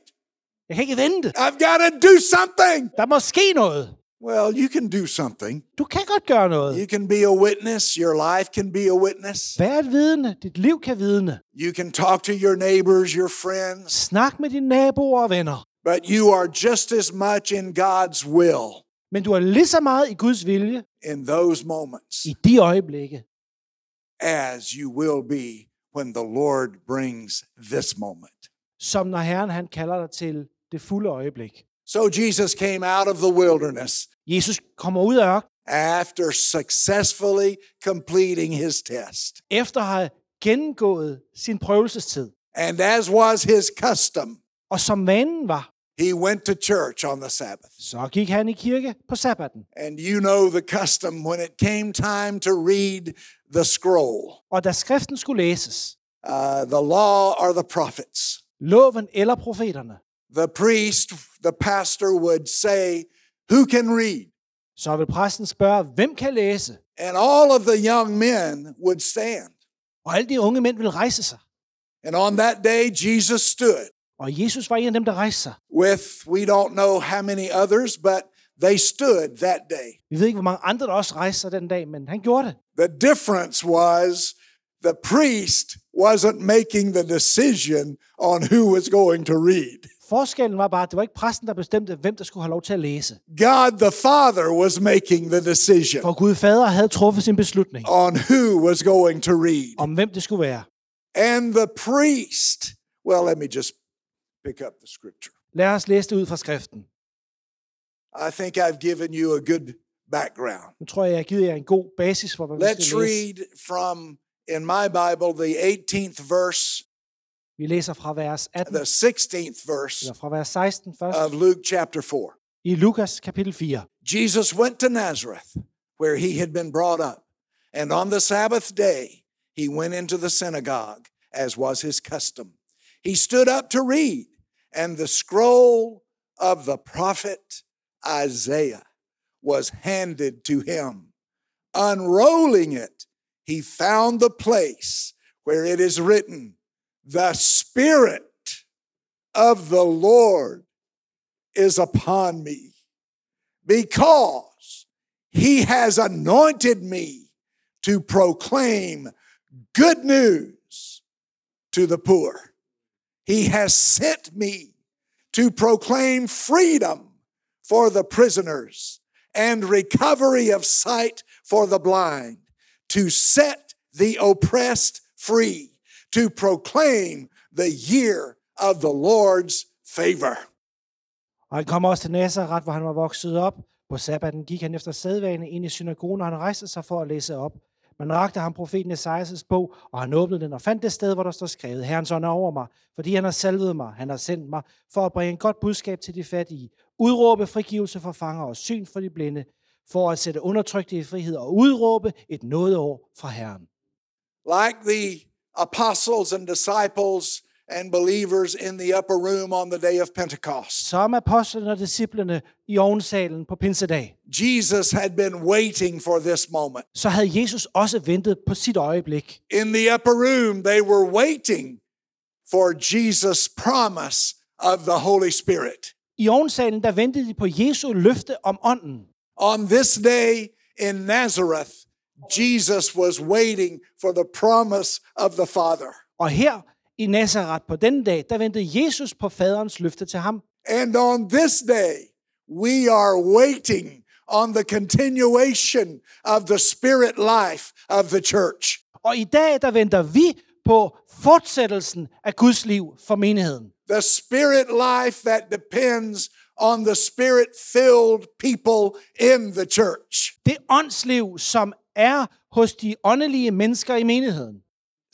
Speaker 3: Jeg kan ikke vente.
Speaker 2: I've got to do something.
Speaker 3: Der må ske noget.
Speaker 2: Well, you can do something.
Speaker 3: Du kan godt gøre noget.
Speaker 2: You can be a witness. Your life can be a witness.
Speaker 3: Vær et vidne. Dit liv kan vidne.
Speaker 2: You can talk to your neighbors, your friends,
Speaker 3: Snak med dine naboer og venner.
Speaker 2: but you are just as much in God's will
Speaker 3: Men du er lige så meget i Guds vilje
Speaker 2: in those moments
Speaker 3: i de øjeblikke,
Speaker 2: as you will be when the Lord brings this moment.
Speaker 3: som når Herren han kalder dig til det fulde øjeblik.
Speaker 2: So Jesus came out of the wilderness
Speaker 3: Jesus kommer ud af ørkenen,
Speaker 2: after successfully completing his test.
Speaker 3: efter at have gennemgået sin prøvelsestid.
Speaker 2: And as was his custom,
Speaker 3: Og som vanen var,
Speaker 2: he went to church on the Sabbath.
Speaker 3: så gik han i kirke på sabbaten.
Speaker 2: And you know the custom when it came time to read the scroll,
Speaker 3: Og da skriften skulle læses,
Speaker 2: uh, the law or the prophets.
Speaker 3: loven eller profeterne,
Speaker 2: The priest, the pastor would say, Who can read?
Speaker 3: så vil præsten spørge, hvem kan læse?
Speaker 2: And all of the young men would stand.
Speaker 3: Og alle de unge mænd vil rejse sig.
Speaker 2: And on that day, Jesus stood
Speaker 3: Og Jesus var en af dem, der rejste sig.
Speaker 2: with we don't know how many others, but they stood that day.
Speaker 3: Vi ved ikke, hvor mange andre, der også rejste sig den dag, men han gjorde det.
Speaker 2: The difference was the priest wasn't making the decision on who was going to read.
Speaker 3: Forskellen var bare, at det var ikke præsten, der bestemte, hvem der skulle have lov til at læse.
Speaker 2: God the Father was making the decision
Speaker 3: For Gud fader havde truffet sin beslutning
Speaker 2: on who was going to read.
Speaker 3: om, hvem det skulle være.
Speaker 2: And the priest, well, let me just pick up the scripture.
Speaker 3: Lad os læse det ud fra skriften.
Speaker 2: I think I've given you a good background.
Speaker 3: Nu tror jeg, jeg har givet jer en god basis for, hvad vi
Speaker 2: Let's
Speaker 3: skal læse.
Speaker 2: read from, in my Bible, the 18th verse,
Speaker 3: Vi læser fra vers 18,
Speaker 2: the 16th verse
Speaker 3: eller fra vers 16 først,
Speaker 2: of Luke chapter 4.
Speaker 3: i Lukas kapitel 4.
Speaker 2: Jesus went to Nazareth, where he had been brought up, and on the Sabbath day he went into the synagogue, as was his custom. He stood up to read, and the scroll of the prophet Isaiah was handed to him. Unrolling it, he found the place where it is written, The Spirit of the Lord is upon me because he has anointed me to proclaim good news to the poor. He has sent me to proclaim freedom for the prisoners and recovery of sight for the blind, to set the oppressed free, to proclaim the year of the Lord's favor.
Speaker 3: Og han kom også til Nazareth, hvor han var vokset op. På sabbaten gik han efter sædvane ind i synagogen, og han rejste sig for at læse op. Man rakte ham profeten Esajas bog, og han åbnede den og fandt det sted, hvor der står skrevet, Herrens ånd er over mig, fordi han har salvet mig, han har sendt mig, for at bringe godt budskab til de fattige, udråbe frigivelse for fanger og syn for de blinde, for at sætte undertrykte i frihed og udråbe et nådeår fra Herren.
Speaker 2: like the apostles and disciples and believers in the upper room on the day of Pentecost.
Speaker 3: Som apostlene og disciplene i ovnsalen på Pinsedag,
Speaker 2: Jesus had been waiting for this moment.
Speaker 3: så havde Jesus også ventet på sit øjeblik,
Speaker 2: In the upper room, they were waiting for Jesus' promise of the Holy Spirit.
Speaker 3: I ovnsalen, der ventede de på Jesu løfte om ånden.
Speaker 2: On this day in Nazareth, Jesus was waiting for the promise of the Father.
Speaker 3: Og her i Nazareth på denne dag, der ventede Jesus på faderens løfte til ham.
Speaker 2: And on this day, we are waiting on the continuation of the spirit life of the church.
Speaker 3: Og i dag, der venter vi på fortsættelsen af Guds liv for menigheden.
Speaker 2: The spirit life that depends on the spirit filled people in the church.
Speaker 3: Det åndsliv, som er hos de åndelige mennesker i menigheden.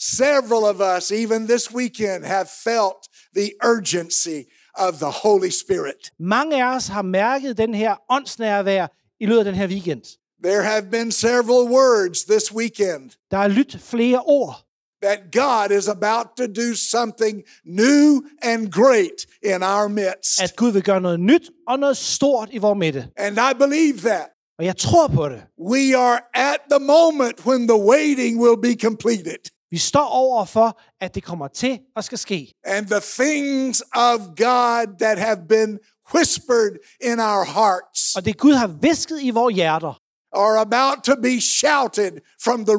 Speaker 2: Several of us, even this weekend, have felt the urgency of the Holy Spirit.
Speaker 3: Mange af os har mærket den her åndsnærvær i løbet af den her weekend.
Speaker 2: There have been several words this weekend
Speaker 3: Der er lyttet flere ord
Speaker 2: that God is about to do something new and great in our midst.
Speaker 3: at Gud vil gøre noget nyt og noget stort i vores midte.
Speaker 2: And I believe that.
Speaker 3: Og jeg tror på det.
Speaker 2: We are at the moment when the waiting will be completed
Speaker 3: Vi står over for, at det kommer til at skal ske.
Speaker 2: and the things of God that have been whispered in our hearts
Speaker 3: Og det Gud har visket i vores hjerter,
Speaker 2: are about to be shouted from the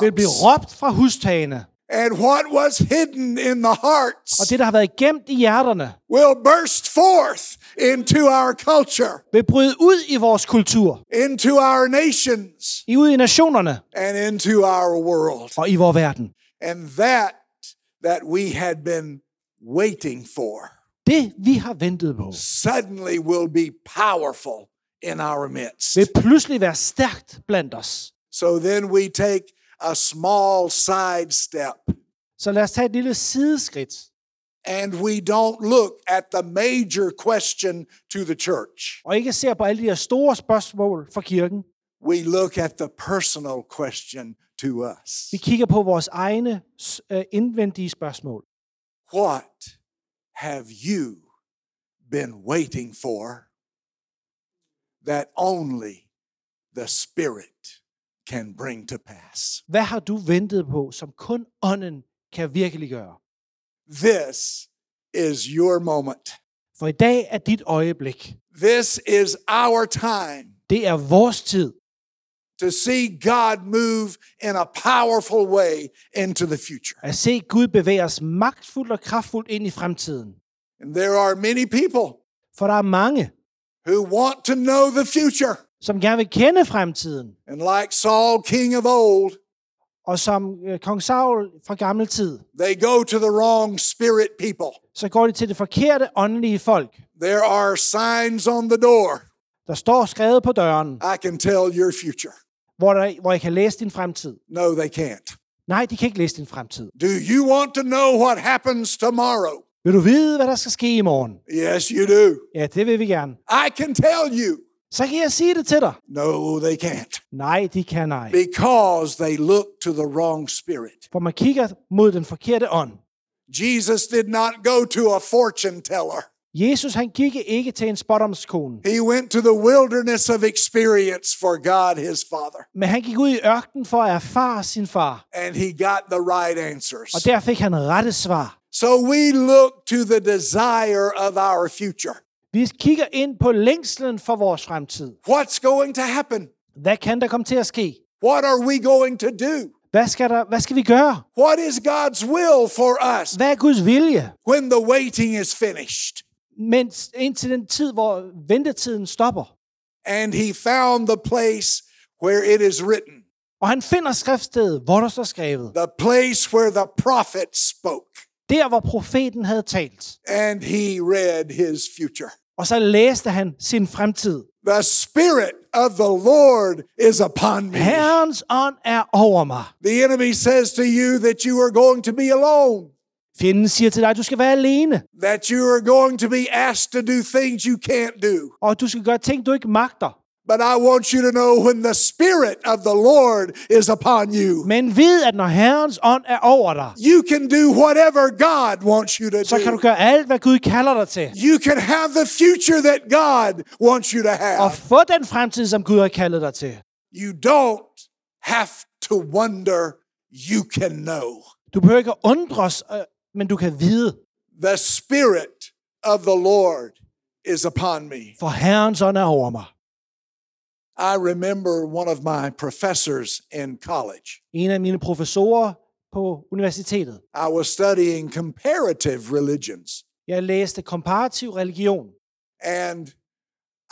Speaker 3: vil blive
Speaker 2: rooftops.
Speaker 3: råbt fra hustagene.
Speaker 2: And what was hidden in the
Speaker 3: Og
Speaker 2: hearts
Speaker 3: det, der har været gemt i hjerterne,
Speaker 2: will burst forth into our culture,
Speaker 3: vil bryde ud i vores kultur,
Speaker 2: into our nations,
Speaker 3: i ud i nationerne
Speaker 2: and into our world.
Speaker 3: og i vores verden.
Speaker 2: And that that we had been waiting for
Speaker 3: Det, vi har ventet på,
Speaker 2: suddenly will be powerful in our midst.
Speaker 3: vil pludselig være stærkt blandt os.
Speaker 2: So then we take a small side step
Speaker 3: Så lad os tage et lille sideskridt,
Speaker 2: and we don't look at the major question to the church.
Speaker 3: og ikke se på alle de her store spørgsmål for kirken.
Speaker 2: We look at the personal question to us.
Speaker 3: Vi kigger på vores egne s- øh, indvendige spørgsmål.
Speaker 2: What have you been waiting for that only the Spirit can bring to pass?
Speaker 3: Hvad har du ventet på, som kun ånden kan virkelig gøre?
Speaker 2: This is your moment.
Speaker 3: For i dag er dit øjeblik.
Speaker 2: This is our time
Speaker 3: Det er vores tid
Speaker 2: to see God move in a powerful way into the future.
Speaker 3: at se Gud bevæge os magtfuldt og kraftfuldt ind i fremtiden.
Speaker 2: And there are many people
Speaker 3: For der er mange,
Speaker 2: who want to know the future.
Speaker 3: som gerne vil kende fremtiden,
Speaker 2: And like Saul, king of old,
Speaker 3: og som øh, kong Saul fra gammel tid,
Speaker 2: they go to the wrong spirit people.
Speaker 3: så går de til det forkerte åndelige folk,
Speaker 2: There are signs on the door.
Speaker 3: der står skrevet på døren,
Speaker 2: I can tell your future.
Speaker 3: hvor, der, hvor I kan læse din fremtid.
Speaker 2: No, they can't.
Speaker 3: Nej, de kan ikke læse din fremtid.
Speaker 2: Do you want to know what happens tomorrow?
Speaker 3: Vil du vide, hvad der skal ske i morgen?
Speaker 2: Yes, you do.
Speaker 3: Ja, det vil vi gerne.
Speaker 2: I can tell you.
Speaker 3: Så kan jeg sige det til dig.
Speaker 2: No, they can't.
Speaker 3: Nej, de kan nej.
Speaker 2: Because they look to the wrong spirit.
Speaker 3: For man kigger mod den forkerte ånd.
Speaker 2: Jesus did not go to a fortune teller.
Speaker 3: Jesus han gik ikke til en spådomskone,
Speaker 2: He went to the wilderness of experience for God his Father,
Speaker 3: men han gik ud i ørkenen for at erfare sin far.
Speaker 2: and he got the right answers.
Speaker 3: Og der fik han rette svar.
Speaker 2: So we look to the desire of our future.
Speaker 3: Vi kigger ind på længslen for vores fremtid.
Speaker 2: What's going to happen?
Speaker 3: Hvad kan der komme til at ske?
Speaker 2: What are we going to do?
Speaker 3: Hvad skal, der, hvad skal vi gøre?
Speaker 2: What is God's will for us
Speaker 3: Hvad er Guds vilje?
Speaker 2: when the waiting is finished?
Speaker 3: Mens indtil den tid, hvor ventetiden stopper.
Speaker 2: And he found the place where it is written,
Speaker 3: Og han finder skriftstedet, hvor der står skrevet.
Speaker 2: the place where the prophet spoke,
Speaker 3: Der, hvor profeten havde talt.
Speaker 2: and he read his future.
Speaker 3: Og så læste han sin fremtid.
Speaker 2: The Spirit of the Lord is upon me.
Speaker 3: Herrens ånd er over mig.
Speaker 2: The enemy says to you that you are going to be alone,
Speaker 3: Fjenden siger til dig, at du skal være alene.
Speaker 2: that you are going to be asked to do things you can't do.
Speaker 3: Og du skal gøre ting, du ikke magter.
Speaker 2: But I want you to know when the Spirit of the Lord is upon you,
Speaker 3: Men ved, at når Herrens ånd er over dig,
Speaker 2: you can do whatever God wants you to
Speaker 3: så kan du
Speaker 2: do.
Speaker 3: gøre alt, hvad Gud kalder dig til.
Speaker 2: You can have the future that God wants you to
Speaker 3: og
Speaker 2: have.
Speaker 3: få den fremtid, som Gud har kaldet dig til.
Speaker 2: You don't have to wonder, you can know.
Speaker 3: Du behøver ikke at undres, øh, men du kan vide,
Speaker 2: The Spirit of the Lord is upon me.
Speaker 3: for Herrens ånd er over mig.
Speaker 2: I remember one of my professors in college.
Speaker 3: En af mine professorer på universitetet.
Speaker 2: I was studying comparative religions,
Speaker 3: Jeg læste komparativ religion,
Speaker 2: and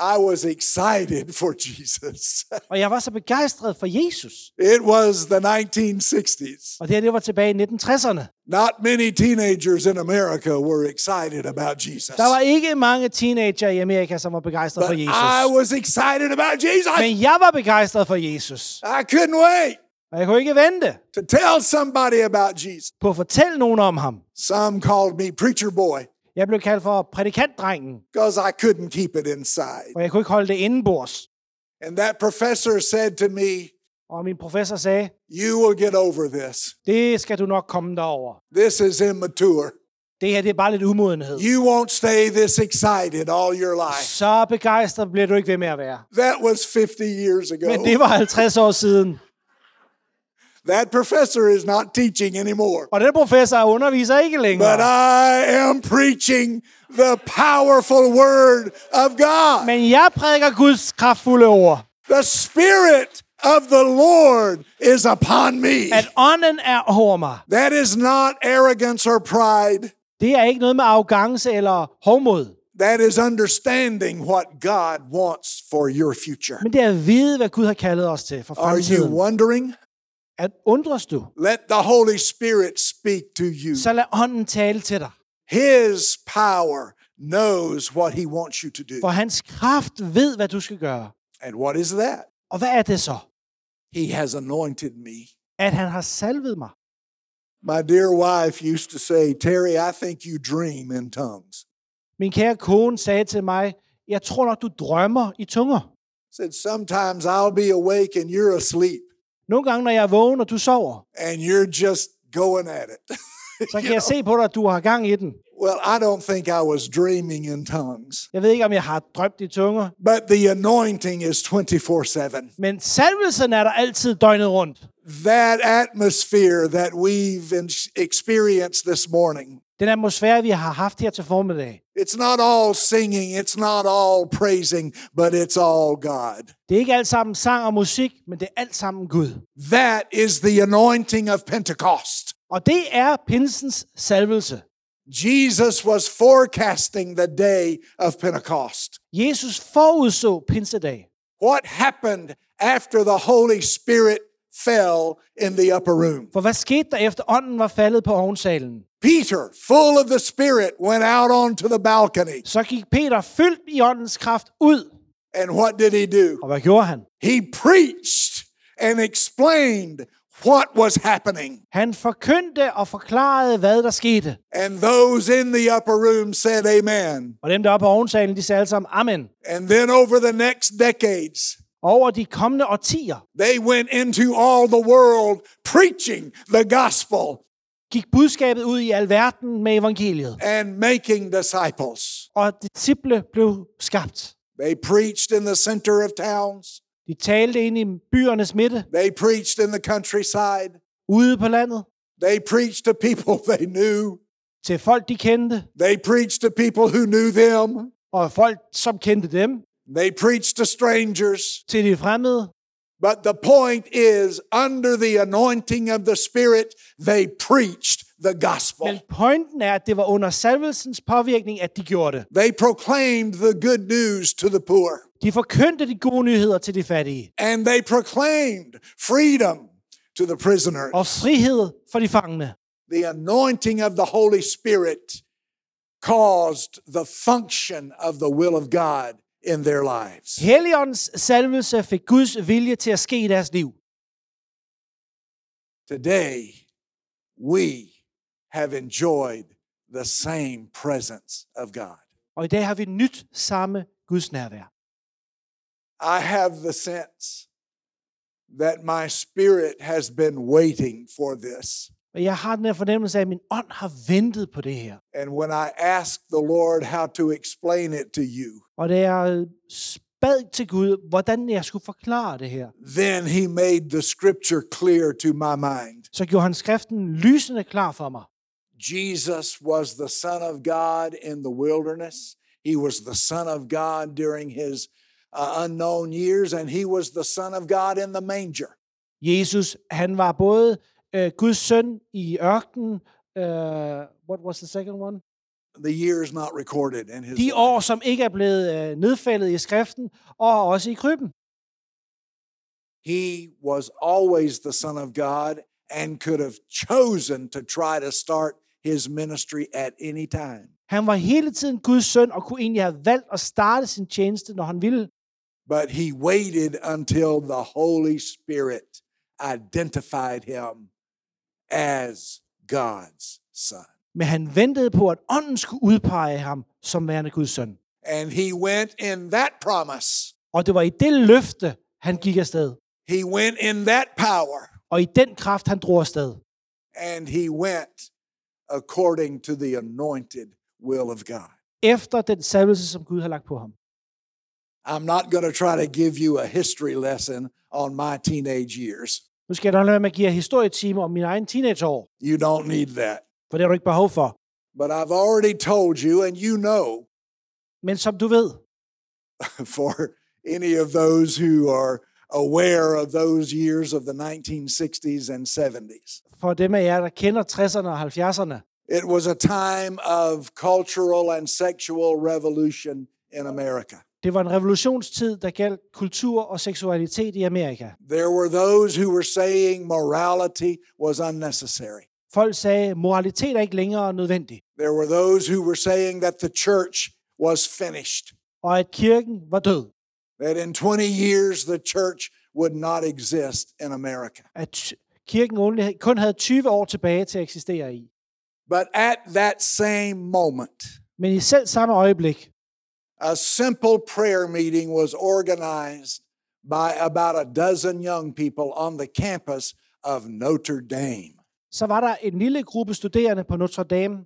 Speaker 2: I was excited for Jesus.
Speaker 3: og jeg var så begejstret for Jesus.
Speaker 2: it was the 1960s.
Speaker 3: Og det her, det var tilbage i 1960'erne.
Speaker 2: Not many teenagers in America were excited about Jesus.
Speaker 3: Der var ikke mange teenager i Amerika, som var begejstret for
Speaker 2: but I
Speaker 3: Jesus.
Speaker 2: was excited about Jesus.
Speaker 3: Men jeg var begejstret for Jesus,
Speaker 2: I couldn't wait
Speaker 3: og jeg kunne ikke vente
Speaker 2: to tell somebody about Jesus.
Speaker 3: på at fortælle nogen om ham.
Speaker 2: Some called me preacher boy
Speaker 3: Jeg blev kaldt for prædikantdrengen,
Speaker 2: because I couldn't keep it inside.
Speaker 3: og jeg kunne ikke holde det indenbords.
Speaker 2: And that professor said to me,
Speaker 3: Og min professor sagde,
Speaker 2: You will get over this.
Speaker 3: Det skal du nok komme derover.
Speaker 2: This is immature.
Speaker 3: Det her, det er bare lidt umodenhed.
Speaker 2: You won't stay this excited all your life.
Speaker 3: Så begejstret bliver du ikke ved med at være.
Speaker 2: That was 50 years
Speaker 3: Men det
Speaker 2: ago.
Speaker 3: var 50 år siden.
Speaker 2: That professor is not teaching anymore.
Speaker 3: Og den professor underviser ikke
Speaker 2: But
Speaker 3: længere.
Speaker 2: I am preaching the powerful word of God.
Speaker 3: Men jeg prædiker Guds kraftfulde ord.
Speaker 2: The Spirit of the Lord is upon me.
Speaker 3: At ånden er over mig.
Speaker 2: That is not arrogance or pride.
Speaker 3: Det er ikke noget med arrogance eller hovmod.
Speaker 2: That is understanding what God wants for your future.
Speaker 3: Men det er at vide, hvad Gud har kaldet os til for
Speaker 2: Are you
Speaker 3: fremtiden.
Speaker 2: wondering?
Speaker 3: at undres du,
Speaker 2: Let the Holy Spirit speak to you.
Speaker 3: så lad ånden tale til dig.
Speaker 2: His power knows what He wants you to do.
Speaker 3: For hans kraft ved, hvad du skal gøre.
Speaker 2: And what is that?
Speaker 3: Og hvad er det så?
Speaker 2: He has anointed me.
Speaker 3: At han har salvet mig.
Speaker 2: My dear wife used to say, Terry, I think you dream in tongues.
Speaker 3: Min kære kone sagde til mig, jeg tror nok, du drømmer i tunger.
Speaker 2: Said, sometimes I'll be awake and you're asleep
Speaker 3: Nogle gange, når jeg er vågen, og du sover,
Speaker 2: and you're just going at it.
Speaker 3: så kan jeg se på dig, at du har gang i den.
Speaker 2: well, I don't think I was dreaming in tongues,
Speaker 3: Jeg ved ikke, om jeg har drømt i tunger,
Speaker 2: but the anointing is 24 7.
Speaker 3: men salvelsen er der altid døgnet rundt.
Speaker 2: That atmosphere that we've en- experienced this morning,
Speaker 3: Den atmosfære, vi har haft her til formiddag,
Speaker 2: it's not all singing, it's not all praising, but it's all God.
Speaker 3: det er ikke alt sammen sang og musik, men det er alt sammen Gud.
Speaker 2: That is the anointing of Pentecost.
Speaker 3: Og det er pinsens salvelse.
Speaker 2: Jesus was forecasting the day of Pentecost.
Speaker 3: Jesus forudså pinsedag.
Speaker 2: What happened after the Holy Spirit fell in the upper room?
Speaker 3: For hvad skete der efter ånden var faldet på ovnsalen?
Speaker 2: Peter, full of the Spirit, went out onto the balcony.
Speaker 3: Så gik Peter fyldt i åndens kraft ud.
Speaker 2: And what did he do?
Speaker 3: Og hvad gjorde han?
Speaker 2: He preached and explained what was happening.
Speaker 3: Han forkyndte og forklarede, hvad der skete.
Speaker 2: And those in the upper room said, Amen.
Speaker 3: Og dem, der er på ovnsalen, de sagde alle sammen, amen.
Speaker 2: And then over the next decades,
Speaker 3: Over de kommende årtier
Speaker 2: they went into all the world preaching the gospel
Speaker 3: gik budskabet ud i alverden med evangeliet.
Speaker 2: and making disciples.
Speaker 3: Og disciple blev skabt.
Speaker 2: They preached in the center of towns,
Speaker 3: De talte ind i byernes midte,
Speaker 2: they preached in the countryside,
Speaker 3: ude på landet,
Speaker 2: they preached to people they knew,
Speaker 3: til folk, de kendte,
Speaker 2: they preached to people who knew them,
Speaker 3: og folk, som kendte dem,
Speaker 2: they preached to strangers.
Speaker 3: til de fremmede.
Speaker 2: But the point is, under the anointing of the Spirit, they preached the
Speaker 3: Men
Speaker 2: gospel.
Speaker 3: pointen er, at det var under salvelsens påvirkning, at de gjorde det.
Speaker 2: They proclaimed the good news to the poor,
Speaker 3: De forkyndte de gode nyheder til de fattige,
Speaker 2: and they proclaimed freedom to the prisoners.
Speaker 3: og frihed for de fangne.
Speaker 2: the anointing of the Holy Spirit caused the function of the will of God in their lives.
Speaker 3: Helligåndens salvelse fik Guds vilje til at ske i deres liv.
Speaker 2: Today, we have enjoyed the same presence of God.
Speaker 3: Og i dag har vi nyt samme Guds nærvær.
Speaker 2: I have the sense that my spirit has been waiting for this.
Speaker 3: Og jeg har den her fornemmelse af, at min ånd har ventet på det her.
Speaker 2: And when I asked the Lord how to explain it to you,
Speaker 3: Og da jeg spad til Gud, hvordan jeg skulle forklare det her,
Speaker 2: then He made the scripture clear to my mind.
Speaker 3: så gjorde han skriften lysende klar for mig.
Speaker 2: Jesus was the Son of God in the wilderness. He was the Son of God during his uh, unknown years, and he was the Son of God in the manger.
Speaker 3: Jesus, han var både øh, Guds søn i ørkenen, øh, what was the second one?
Speaker 2: The years not recorded in his
Speaker 3: De
Speaker 2: life.
Speaker 3: år, som ikke er blevet øh, nedfældet i skriften, og også i krybben.
Speaker 2: He was always the Son of God and could have chosen to try to start his ministry at any time.
Speaker 3: Han var hele tiden Guds søn, og kunne egentlig have valgt at starte sin tjeneste, når han ville.
Speaker 2: But he waited until the Holy Spirit identified him as God's Son.
Speaker 3: Men han ventede på, at ånden skulle udpege ham som værende Guds søn.
Speaker 2: And he went in that promise.
Speaker 3: Og det var i det løfte, han gik afsted.
Speaker 2: He went in that power.
Speaker 3: Og i den kraft, han drog afsted.
Speaker 2: And he went according to the anointed will of God.
Speaker 3: Efter den salvelse, som Gud har lagt på ham.
Speaker 2: I'm not going to try to give you a history lesson on my teenage years.
Speaker 3: Nu skal jeg nok lade være med at give jer historietimer om min egen teenageår,
Speaker 2: You don't need that.
Speaker 3: for det har du ikke behov for.
Speaker 2: But I've already told you, and you know,
Speaker 3: Men som du ved,
Speaker 2: for any of those who are aware of those years of the 1960s and 70s,
Speaker 3: for dem af jer, der kender 60'erne og 70'erne,
Speaker 2: it was a time of cultural and sexual revolution in America.
Speaker 3: Det var en revolutionstid, der galt kultur og seksualitet i Amerika.
Speaker 2: There were those who were saying morality was unnecessary.
Speaker 3: Folk sagde, moralitet er ikke længere nødvendig,
Speaker 2: There were those who were saying that the church was finished,
Speaker 3: og at kirken var død.
Speaker 2: that in 20 years the church would not exist in America.
Speaker 3: At t- kirken only- kun havde 20 år tilbage til at eksistere i.
Speaker 2: But at that same moment,
Speaker 3: Men i selv samme øjeblik,
Speaker 2: a simple prayer meeting was organized by about a dozen young people on the campus of Notre Dame.
Speaker 3: så var der en lille gruppe studerende på Notre Dame.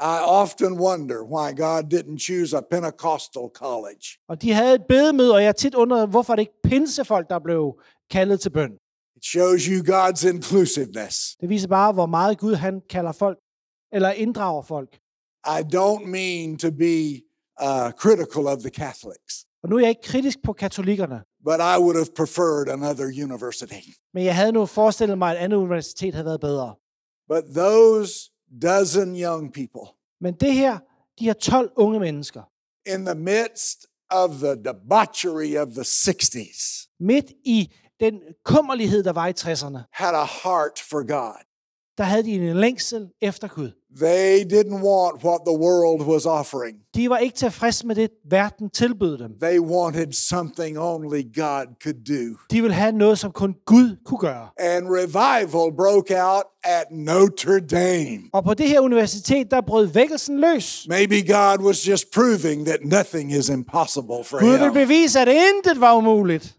Speaker 2: I often wonder why God didn't choose a Pentecostal college.
Speaker 3: Og de havde et bedemøde, og jeg tit undrede, hvorfor det ikke pinsefolk, der blev kaldet til bøn.
Speaker 2: It shows you God's inclusiveness.
Speaker 3: Det viser bare, hvor meget Gud han kalder folk, eller inddrager folk.
Speaker 2: I don't mean to be uh, critical of the Catholics,
Speaker 3: Og nu er jeg ikke kritisk på katolikkerne,
Speaker 2: but I would have preferred another university.
Speaker 3: men jeg havde nu forestillet mig, at et andet universitet havde været bedre.
Speaker 2: But those dozen young people,
Speaker 3: Men det her, de her 12 unge mennesker,
Speaker 2: in the midst of the debauchery of the 60s,
Speaker 3: midt i den kummerlighed, der var i 60'erne,
Speaker 2: had a heart for God.
Speaker 3: der havde de en længsel efter Gud.
Speaker 2: They didn't want what the world was offering.
Speaker 3: De var ikke tilfredse med det, verden tilbød dem.
Speaker 2: They wanted something only God could do.
Speaker 3: De ville have noget, som kun Gud kunne gøre.
Speaker 2: And revival broke out at Notre Dame.
Speaker 3: Og på det her universitet, der brød vækkelsen løs.
Speaker 2: Maybe God was just proving that nothing is impossible for
Speaker 3: Gud vil
Speaker 2: him.
Speaker 3: bevise, at intet var umuligt.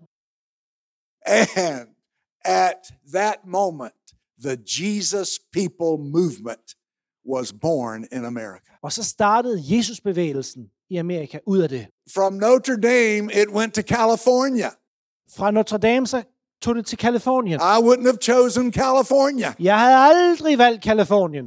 Speaker 2: And at that moment, the Jesus People movement was born in America.
Speaker 3: Og så startede Jesusbevægelsen i Amerika ud af det.
Speaker 2: From Notre Dame, it went to California.
Speaker 3: Fra Notre Dame, så tog det til Kalifornien.
Speaker 2: I wouldn't have chosen California.
Speaker 3: Jeg havde aldrig valgt Kalifornien.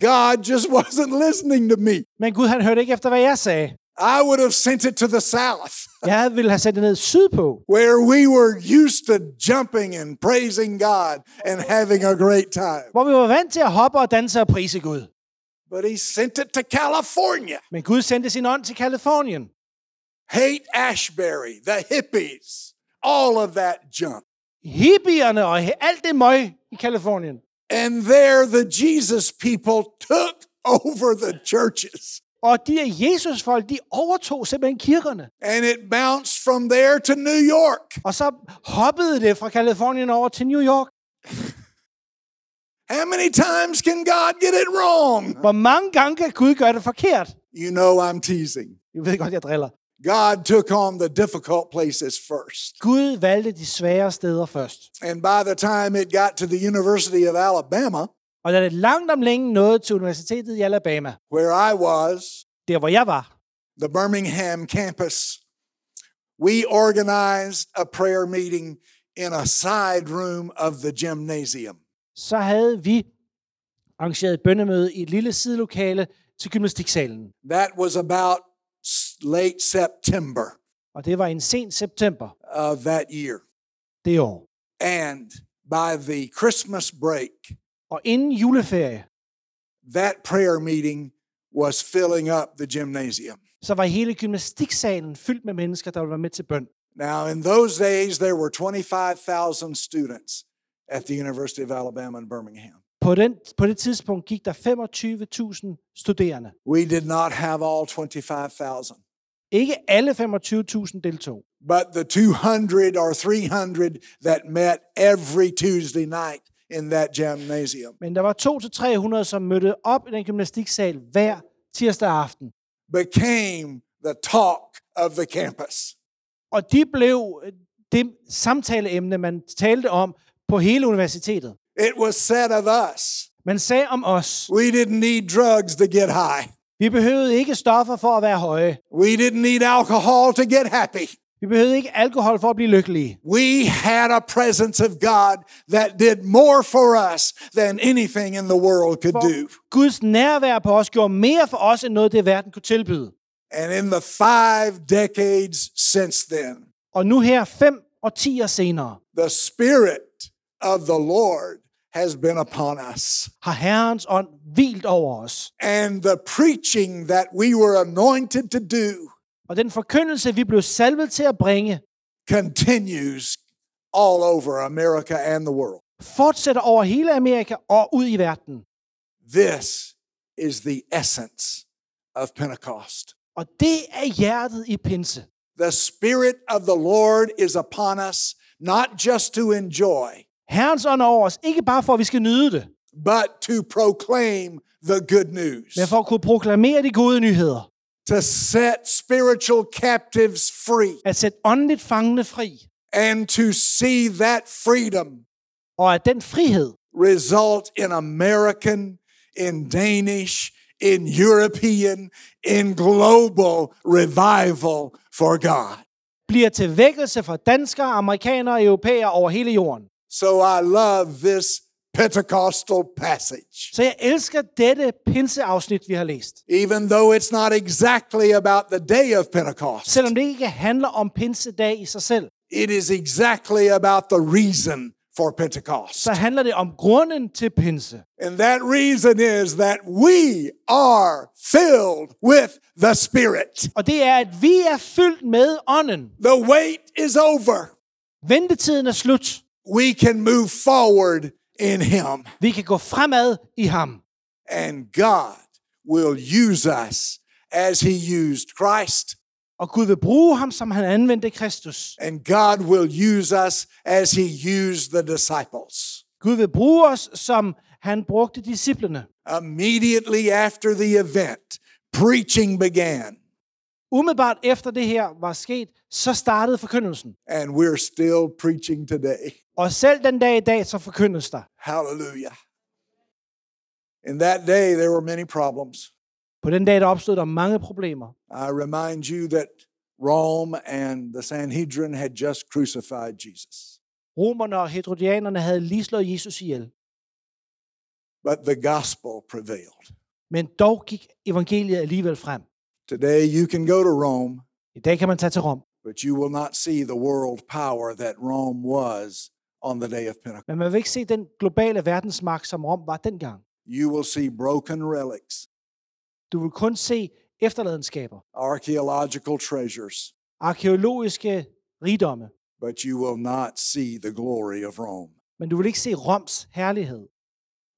Speaker 2: God just wasn't listening to me.
Speaker 3: Men Gud, han hørte ikke efter, hvad jeg sagde.
Speaker 2: I would have sent it to the South.
Speaker 3: Jeg ville have sendt det ned sydpå,
Speaker 2: where we were used to jumping and praising God and having a great time.
Speaker 3: hvor vi var vant til at hoppe og danse og prise Gud.
Speaker 2: But he sent it to California.
Speaker 3: Men Gud sendte sin ånd til Kalifornien.
Speaker 2: Hate Ashbury, the hippies, all of that junk.
Speaker 3: Hippierne og he- alt det møg i Kalifornien.
Speaker 2: And there the Jesus people took over the churches.
Speaker 3: Og de her Jesusfolk, de overtog simpelthen kirkerne.
Speaker 2: And it bounced from there to New York.
Speaker 3: Og så hoppede det fra Kalifornien over til New York.
Speaker 2: How many times can God get it wrong?
Speaker 3: Hvor mange gange kan Gud gøre det forkert?
Speaker 2: You know I'm teasing.
Speaker 3: Jeg ved godt, jeg driller.
Speaker 2: God took on the difficult places first.
Speaker 3: Gud valgte de svære steder først.
Speaker 2: And by the time it got to the University of Alabama,
Speaker 3: Og da det langt om længe nåede til universitetet i Alabama,
Speaker 2: where I was,
Speaker 3: der hvor jeg var,
Speaker 2: the Birmingham campus, we organized a prayer meeting in a side room of the gymnasium.
Speaker 3: så havde vi arrangeret et bøndemøde i et lille sidelokale til gymnastiksalen.
Speaker 2: That was about s- late September
Speaker 3: Og det var en sen september
Speaker 2: of that year.
Speaker 3: det år.
Speaker 2: And by the Christmas break,
Speaker 3: Og inden juleferie,
Speaker 2: that prayer meeting was filling up the gymnasium.
Speaker 3: så var hele gymnastiksalen fyldt med mennesker, der ville være med til bøn.
Speaker 2: Now, in those days, there were 25,000 students at the University of Alabama in Birmingham.
Speaker 3: På, den, på det tidspunkt gik der 25.000 studerende.
Speaker 2: We did not have all 25,000.
Speaker 3: Ikke alle 25.000 deltog,
Speaker 2: but the 200 or 300 that met every Tuesday night in that gymnasium.
Speaker 3: men der var 200-300, som mødte op i den gymnastiksal hver tirsdag aften.
Speaker 2: Became the talk of the campus.
Speaker 3: Og de blev øh, det samtaleemne, man talte om på hele universitetet.
Speaker 2: It was said of us,
Speaker 3: Man sagde om os,
Speaker 2: we didn't need drugs to get high.
Speaker 3: vi behøvede ikke stoffer for at være høje.
Speaker 2: We didn't need alcohol to get happy.
Speaker 3: Vi behøvede ikke alkohol for at blive lykkelige.
Speaker 2: We had a presence of God that did more for us than anything in the world could do.
Speaker 3: Guds nærvær på os gjorde mere for os, end noget det verden kunne tilbyde.
Speaker 2: And in the five decades since then,
Speaker 3: Og nu her, fem og ti år senere,
Speaker 2: the Spirit of the Lord has been upon us.
Speaker 3: har Herrens ånd hvilt over os.
Speaker 2: And the preaching that we were anointed to do
Speaker 3: Og den forkyndelse, vi blev salvet til at bringe,
Speaker 2: continues all over America and the world.
Speaker 3: fortsætter over hele Amerika og ud i verden.
Speaker 2: This is the essence of Pentecost.
Speaker 3: Og det er hjertet i pinse.
Speaker 2: The Spirit of the Lord is upon us, not just to enjoy,
Speaker 3: Herrens ånd er over os, ikke bare for, at vi skal nyde det,
Speaker 2: but to proclaim the good news,
Speaker 3: men for at kunne proklamere de gode nyheder.
Speaker 2: to set spiritual captives free,
Speaker 3: At sætte åndeligt fangende fri,
Speaker 2: and to see that freedom
Speaker 3: og at den frihed
Speaker 2: result in American, in Danish, in European, in global revival for God.
Speaker 3: bliver til vækkelse for danskere, amerikanere og europæere over hele jorden.
Speaker 2: So I love this Pentecostal passage.
Speaker 3: Så jeg elsker dette pinseafsnit, vi har læst.
Speaker 2: Even though it's not exactly about the day of Pentecost,
Speaker 3: Selvom det ikke handler om pinsedag i sig selv,
Speaker 2: it is exactly about the reason for Pentecost.
Speaker 3: så handler det om grunden til pinse.
Speaker 2: And that reason is that we are filled with the Spirit.
Speaker 3: Og det er, at vi er fyldt med ånden.
Speaker 2: The wait is over.
Speaker 3: Ventetiden er slut.
Speaker 2: We can move forward in Him,
Speaker 3: Vi kan gå fremad i ham.
Speaker 2: and God will use us as He used Christ,
Speaker 3: Og Gud vil bruge ham, som han anvendte Kristus.
Speaker 2: and God will use us as He used the disciples.
Speaker 3: Gud vil bruge os, som han brugte disciplene.
Speaker 2: Immediately after the event, preaching began,
Speaker 3: Umiddelbart efter det her var sket, så startede forkyndelsen.
Speaker 2: and we're still preaching today.
Speaker 3: Og selv den dag i dag, så forkyndes der.
Speaker 2: Hallelujah. In that day, there were many problems.
Speaker 3: På den dag, der opstod der mange problemer.
Speaker 2: I remind you that Rome and the Sanhedrin had just crucified Jesus,
Speaker 3: Romerne og hedrodianerne havde lige slået Jesus ihjel.
Speaker 2: but the gospel prevailed.
Speaker 3: Men dog gik evangeliet alligevel frem.
Speaker 2: Today, you can go to Rome,
Speaker 3: I dag kan man tage til Rom,
Speaker 2: but you will not see the world power that Rome was on the day of Pentecost.
Speaker 3: men man vil ikke se den globale verdensmagt, som Rom var dengang.
Speaker 2: You will see broken relics,
Speaker 3: Du vil kun se efterladenskaber,
Speaker 2: archaeological treasures,
Speaker 3: arkeologiske rigdomme,
Speaker 2: but you will not see the glory of Rome.
Speaker 3: men du vil ikke se Roms herlighed.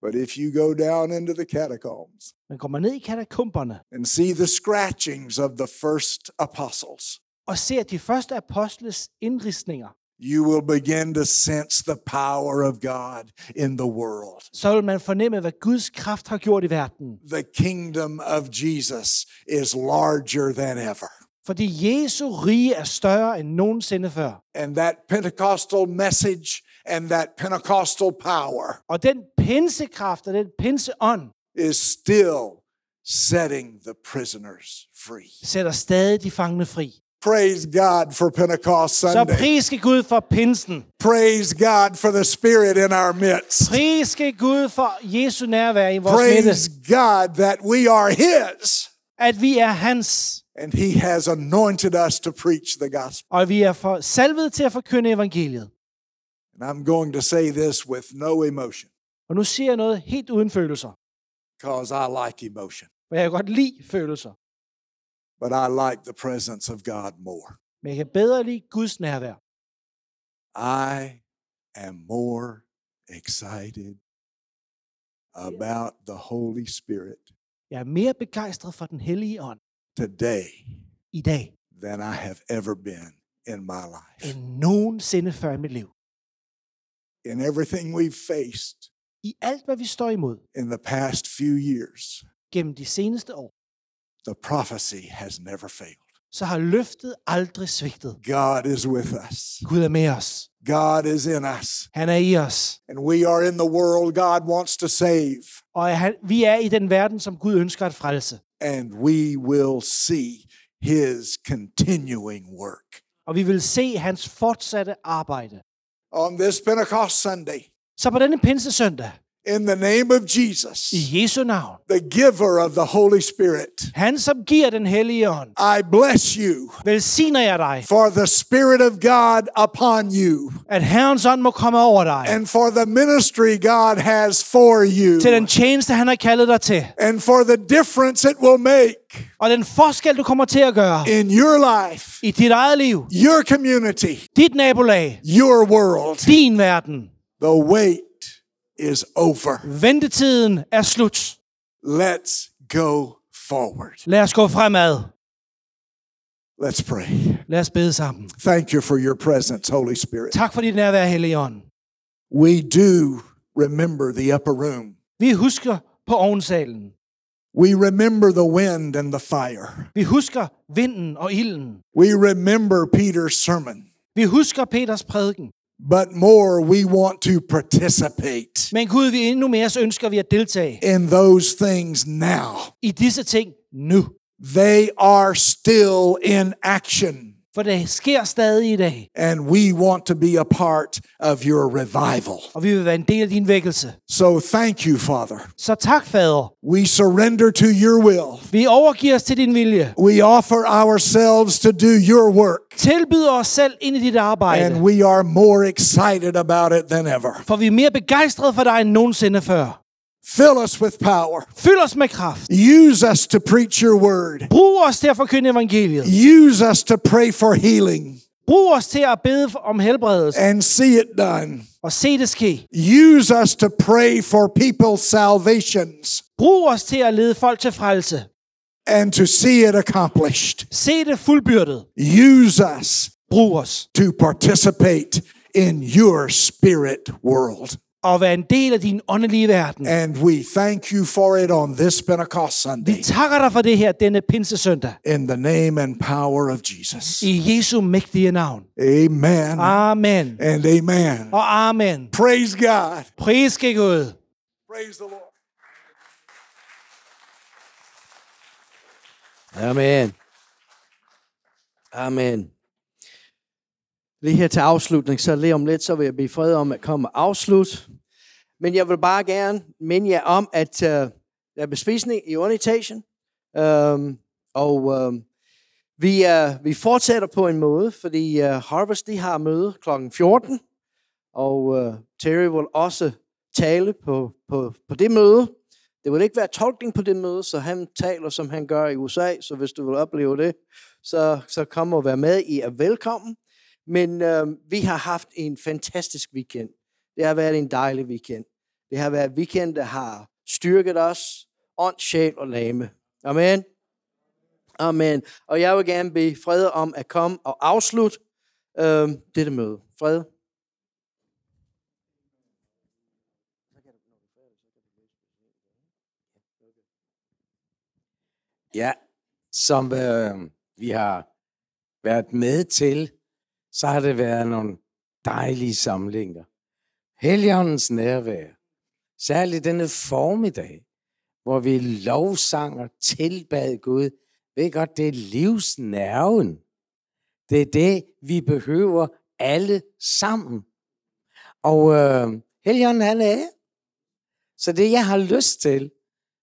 Speaker 2: But if you go down into the catacombs,
Speaker 3: Man kommer ned i katakomberne
Speaker 2: and see the scratchings of the first apostles,
Speaker 3: og ser de første apostles indridsninger,
Speaker 2: you will begin to sense the power of God in the world.
Speaker 3: så vil man fornemme, hvad Guds kraft har gjort i verden.
Speaker 2: The kingdom of Jesus is larger than ever.
Speaker 3: Fordi Jesu rige er større end nogensinde før.
Speaker 2: And that Pentecostal message and that Pentecostal power
Speaker 3: Og den pinsekraft og den pinseånd
Speaker 2: is still setting the prisoners free.
Speaker 3: sætter stadig de fangne fri.
Speaker 2: Praise God for Pentecost
Speaker 3: Så
Speaker 2: Sunday.
Speaker 3: priske Gud for pinsen.
Speaker 2: Praise God for the Spirit in our midst.
Speaker 3: Priske Gud for Jesu nærvær i vores
Speaker 2: Praise
Speaker 3: midte.
Speaker 2: God that we are His.
Speaker 3: At vi er hans,
Speaker 2: and he has anointed us to preach the gospel.
Speaker 3: og vi er for salvet til at forkynde evangeliet.
Speaker 2: And I'm going to say this with no emotion
Speaker 3: Og nu siger jeg noget helt uden følelser.
Speaker 2: because I like emotion,
Speaker 3: For jeg kan godt lide følelser.
Speaker 2: but I like the presence of God more.
Speaker 3: Men jeg kan bedre lide Guds nærvær.
Speaker 2: I am more excited about the Holy Spirit
Speaker 3: Jeg er mere begejstret for den hellige ånd
Speaker 2: today
Speaker 3: i dag,
Speaker 2: than I have ever been in my life.
Speaker 3: end nogensinde før i mit liv.
Speaker 2: In everything we've faced
Speaker 3: I alt, hvad vi står imod
Speaker 2: in the past few years,
Speaker 3: gennem de seneste år,
Speaker 2: the prophecy has never failed.
Speaker 3: så har løftet aldrig svigtet.
Speaker 2: God is with us.
Speaker 3: Gud er med os.
Speaker 2: God is in us.
Speaker 3: Han er i os.
Speaker 2: and we are in the world God wants to save,
Speaker 3: Og er han, vi er i den verden, som Gud ønsker at frelse.
Speaker 2: and we will see His continuing work.
Speaker 3: Og vi vil se hans fortsatte arbejde.
Speaker 2: On this Pentecost Sunday,
Speaker 3: Så på denne pinsesøndag
Speaker 2: in the name of Jesus,
Speaker 3: i Jesu navn.
Speaker 2: the giver of the Holy Spirit.
Speaker 3: Han, som giver den hellige ånd,
Speaker 2: I bless you
Speaker 3: velsigner jeg dig,
Speaker 2: for the Spirit of God upon you
Speaker 3: at Herrens ånd må komme over dig,
Speaker 2: and for the ministry God has for you
Speaker 3: til den tjeneste, han har kaldet dig til,
Speaker 2: and for the difference it will make
Speaker 3: og den forskel, du kommer til at gøre
Speaker 2: in your life,
Speaker 3: i dit eget liv,
Speaker 2: your community,
Speaker 3: dit nabolag,
Speaker 2: your world.
Speaker 3: din verden.
Speaker 2: The wait is over.
Speaker 3: Ventetiden er slut.
Speaker 2: Let's go forward.
Speaker 3: Lad os gå fremad.
Speaker 2: Let's pray.
Speaker 3: Lad os bede sammen.
Speaker 2: Thank you for your presence, Holy Spirit.
Speaker 3: Tak for dit nærvær, hellige ånd.
Speaker 2: We do remember the upper room.
Speaker 3: Vi husker på ovnsalen.
Speaker 2: We remember the wind and the fire.
Speaker 3: Vi husker vinden og ilden.
Speaker 2: We remember Peter's sermon.
Speaker 3: Vi husker Peters prædiken.
Speaker 2: But more, we want to participate
Speaker 3: Men Gud, vi endnu mere så ønsker vi at deltage
Speaker 2: in those things now.
Speaker 3: i disse ting nu.
Speaker 2: They are still in action,
Speaker 3: For det sker stadig i dag,
Speaker 2: and we want to be a part of your revival.
Speaker 3: og vi vil være en del af din vækkelse.
Speaker 2: So thank you, Father.
Speaker 3: Så tak, Fader.
Speaker 2: We surrender to your will.
Speaker 3: Vi overgiver os til din vilje.
Speaker 2: We offer ourselves to do your work,
Speaker 3: Tilbyder os selv ind i dit arbejde,
Speaker 2: and we are more excited about it than ever.
Speaker 3: for vi er mere begejstrede for dig end nogensinde før.
Speaker 2: Fill us with power.
Speaker 3: Fyld os med kraft.
Speaker 2: Use us to preach your word.
Speaker 3: Brug os til at forkynde evangeliet.
Speaker 2: Use us to pray for healing
Speaker 3: Brug os til at bede for- om helbredelse
Speaker 2: and see it done.
Speaker 3: og se det ske.
Speaker 2: Use us to pray for people's salvations
Speaker 3: Brug os til at lede folk til frelse.
Speaker 2: and to see it accomplished.
Speaker 3: Se det fuldbyrdet.
Speaker 2: Use us
Speaker 3: Brug os
Speaker 2: to participate in your spirit world.
Speaker 3: og være en del af din åndelige verden.
Speaker 2: And we thank you for it on this Pentecost
Speaker 3: Vi
Speaker 2: Sunday.
Speaker 3: takker dig for det her denne pinsesøndag.
Speaker 2: In the name and power of Jesus.
Speaker 3: I Jesu mægtige navn.
Speaker 2: Amen
Speaker 3: Ah. Amen.
Speaker 2: and amen.
Speaker 3: Og amen.
Speaker 2: Praise God.
Speaker 3: Pris skal Gud.
Speaker 2: Praise the Lord.
Speaker 1: Amen. Amen. Lige her til afslutning, så lige om lidt, så vil jeg blive fred om at komme og afslutte. Men jeg vil bare gerne minde jer om, at øh, der er bespisning i underetagen. Øhm, og øhm, vi, øh, vi fortsætter på en måde, fordi øh, Harvest de har møde kl. 14. Og øh, Terry vil også tale på, på, på det møde. Det vil ikke være tolkning på det møde, så han taler, som han gør i USA. Så hvis du vil opleve det, så, så kom og vær med. I er velkommen. Men øh, vi har haft en fantastisk weekend. Det har været en dejlig weekend. Det har været en weekend, der har styrket os ånd, sjæl og lame. Amen. Amen. Og jeg vil gerne bede fred om at komme og afslutte øh, dette møde. Fred.
Speaker 4: Ja, som øh, vi har været med til, så har det været nogle dejlige samlinger. Helligåndens nærvær, særligt denne formiddag, hvor vi lovsang og tilbad Gud, ved I godt, det er livsnerven. Det er det, vi behøver alle sammen. Og øh, Helligånden, han er her. Så det, jeg har lyst til,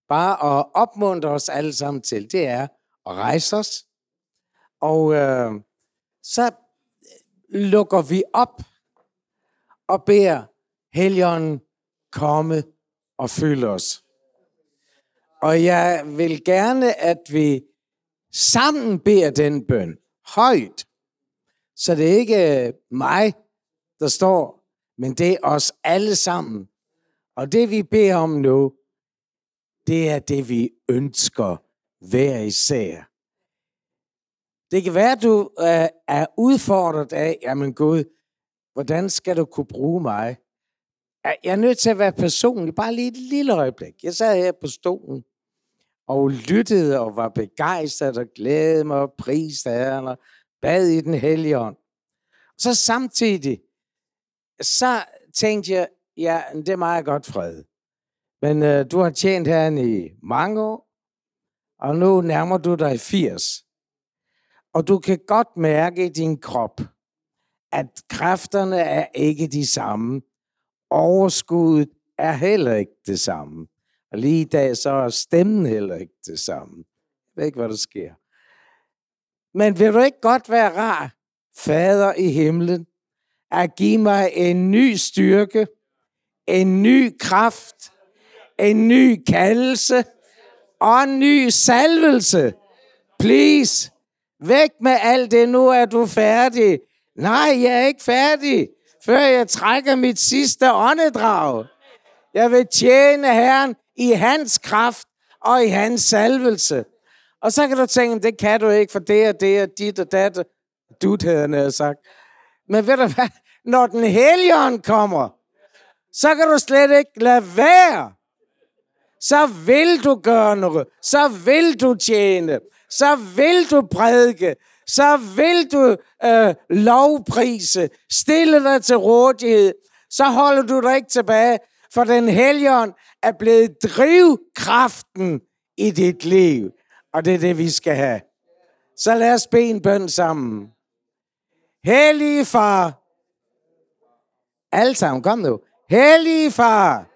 Speaker 4: bare at opmuntre os alle sammen til, det er at rejse os. Og øh, så lukker vi op og beder Helligånden komme og fylde os. Og jeg vil gerne, at vi sammen beder den bøn højt. Så det er ikke øh, mig, der står, men det er os alle sammen. Og det vi beder om nu, det er det, vi ønsker hver især. Det kan være, at du øh, er udfordret af, jamen Gud, hvordan skal du kunne bruge mig? Er- Jeg er nødt til at være personlig, bare lige et lille øjeblik. Jeg sad her på stolen og lyttede og var begejstret og glædede mig og priste herren og bad i den hellige ånd. Så samtidig, så tænkte jeg, ja, det er meget godt fred. Men øh, du har tjent herren i mange år, og nu nærmer du dig 80. Og du kan godt mærke i din krop, at kræfterne er ikke de samme. Overskuddet er heller ikke det samme. Og lige i dag, så er stemmen heller ikke det samme. Jeg ved ikke, hvad der sker. Men vil du ikke godt være rar, Fader i himlen, at give mig en ny styrke, en ny kraft, en ny kaldelse og en ny salvelse. Please, væk med alt det, nu er du færdig. Nej, jeg er ikke færdig, før jeg trækker mit sidste åndedrag. Jeg vil tjene Herren i hans kraft og i hans salvelse. Og så kan du tænke, det kan du ikke, for det og det og dit og dat. Dut havde jeg nær sagt. Men ved du hvad? Når den helion kommer, så kan du slet ikke lade være. Så vil du gøre noget. Så vil du tjene. Så vil du prædike. Så vil du øh, lovprise. Stille dig til rådighed. Så holder du dig ikke tilbage, for den helion er blevet drivkraften i dit liv. Og det er det, vi skal have. Så lad os bede en bøn sammen. Hellige far. Alle sammen, kom nu. Hellige far.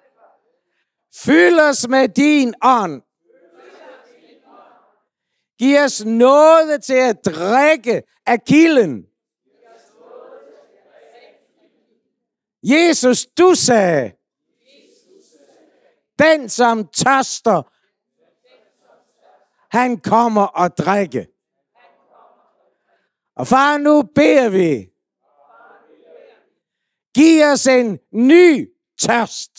Speaker 4: Fyld os med din ånd. Giv os noget til at drikke af kilden. Jesus, du sagde, den som tørster, han kommer og drikke. Og far, nu beder vi. Giv os en ny tørst.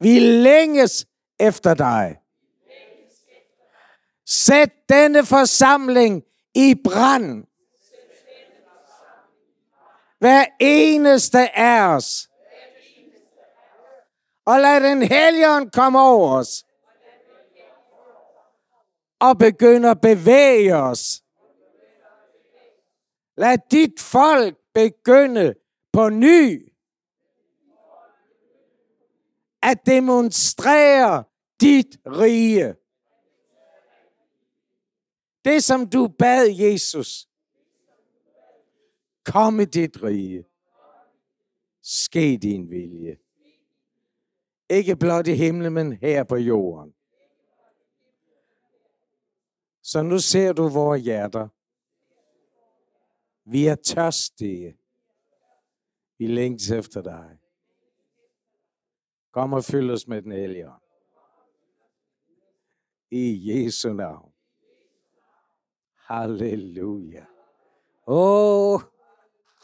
Speaker 4: Vi længes efter dig. Sæt denne forsamling i brand. Hver eneste af os. Og lad den helgen komme over os. Og begynde at bevæge os. Lad dit folk begynde på ny at demonstrere dit rige. Det, som du bad Jesus. Kom i dit rige. Ske din vilje. Ikke blot i himlen, men her på jorden. Så nu ser du vores hjerter. Vi er tørstige. Vi længes efter dig. Kom og fyld os med den hellige ånd. I Jesu navn. Halleluja. Åh,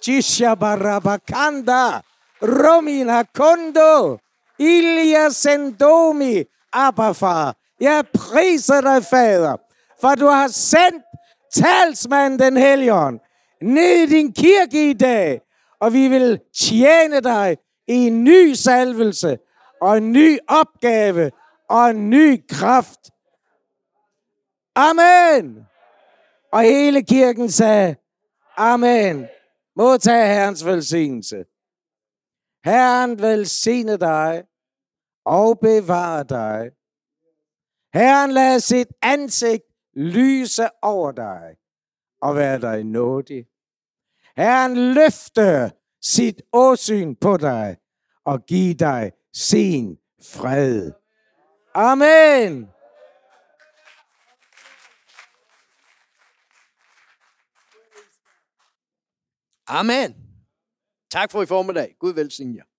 Speaker 4: Cisha Barabakanda, Romina Kondo, Ilja Sendomi, Abba far. Jeg priser dig, Fader, for du har sendt talsmanden den hellige ånd ned i din kirke i dag, og vi vil tjene dig i en ny salvelse, og en ny opgave, og en ny kraft. Amen! Og hele kirken sagde, Amen. Modtag Herrens velsignelse. Herren velsigne dig og bevare dig. Herren lad sit ansigt lyse over dig og være dig nådig. Herren løfte sit åsyn på dig og give dig sin fred. Amen.
Speaker 1: Amen. Tak for i formiddag. Gud velsigne jer.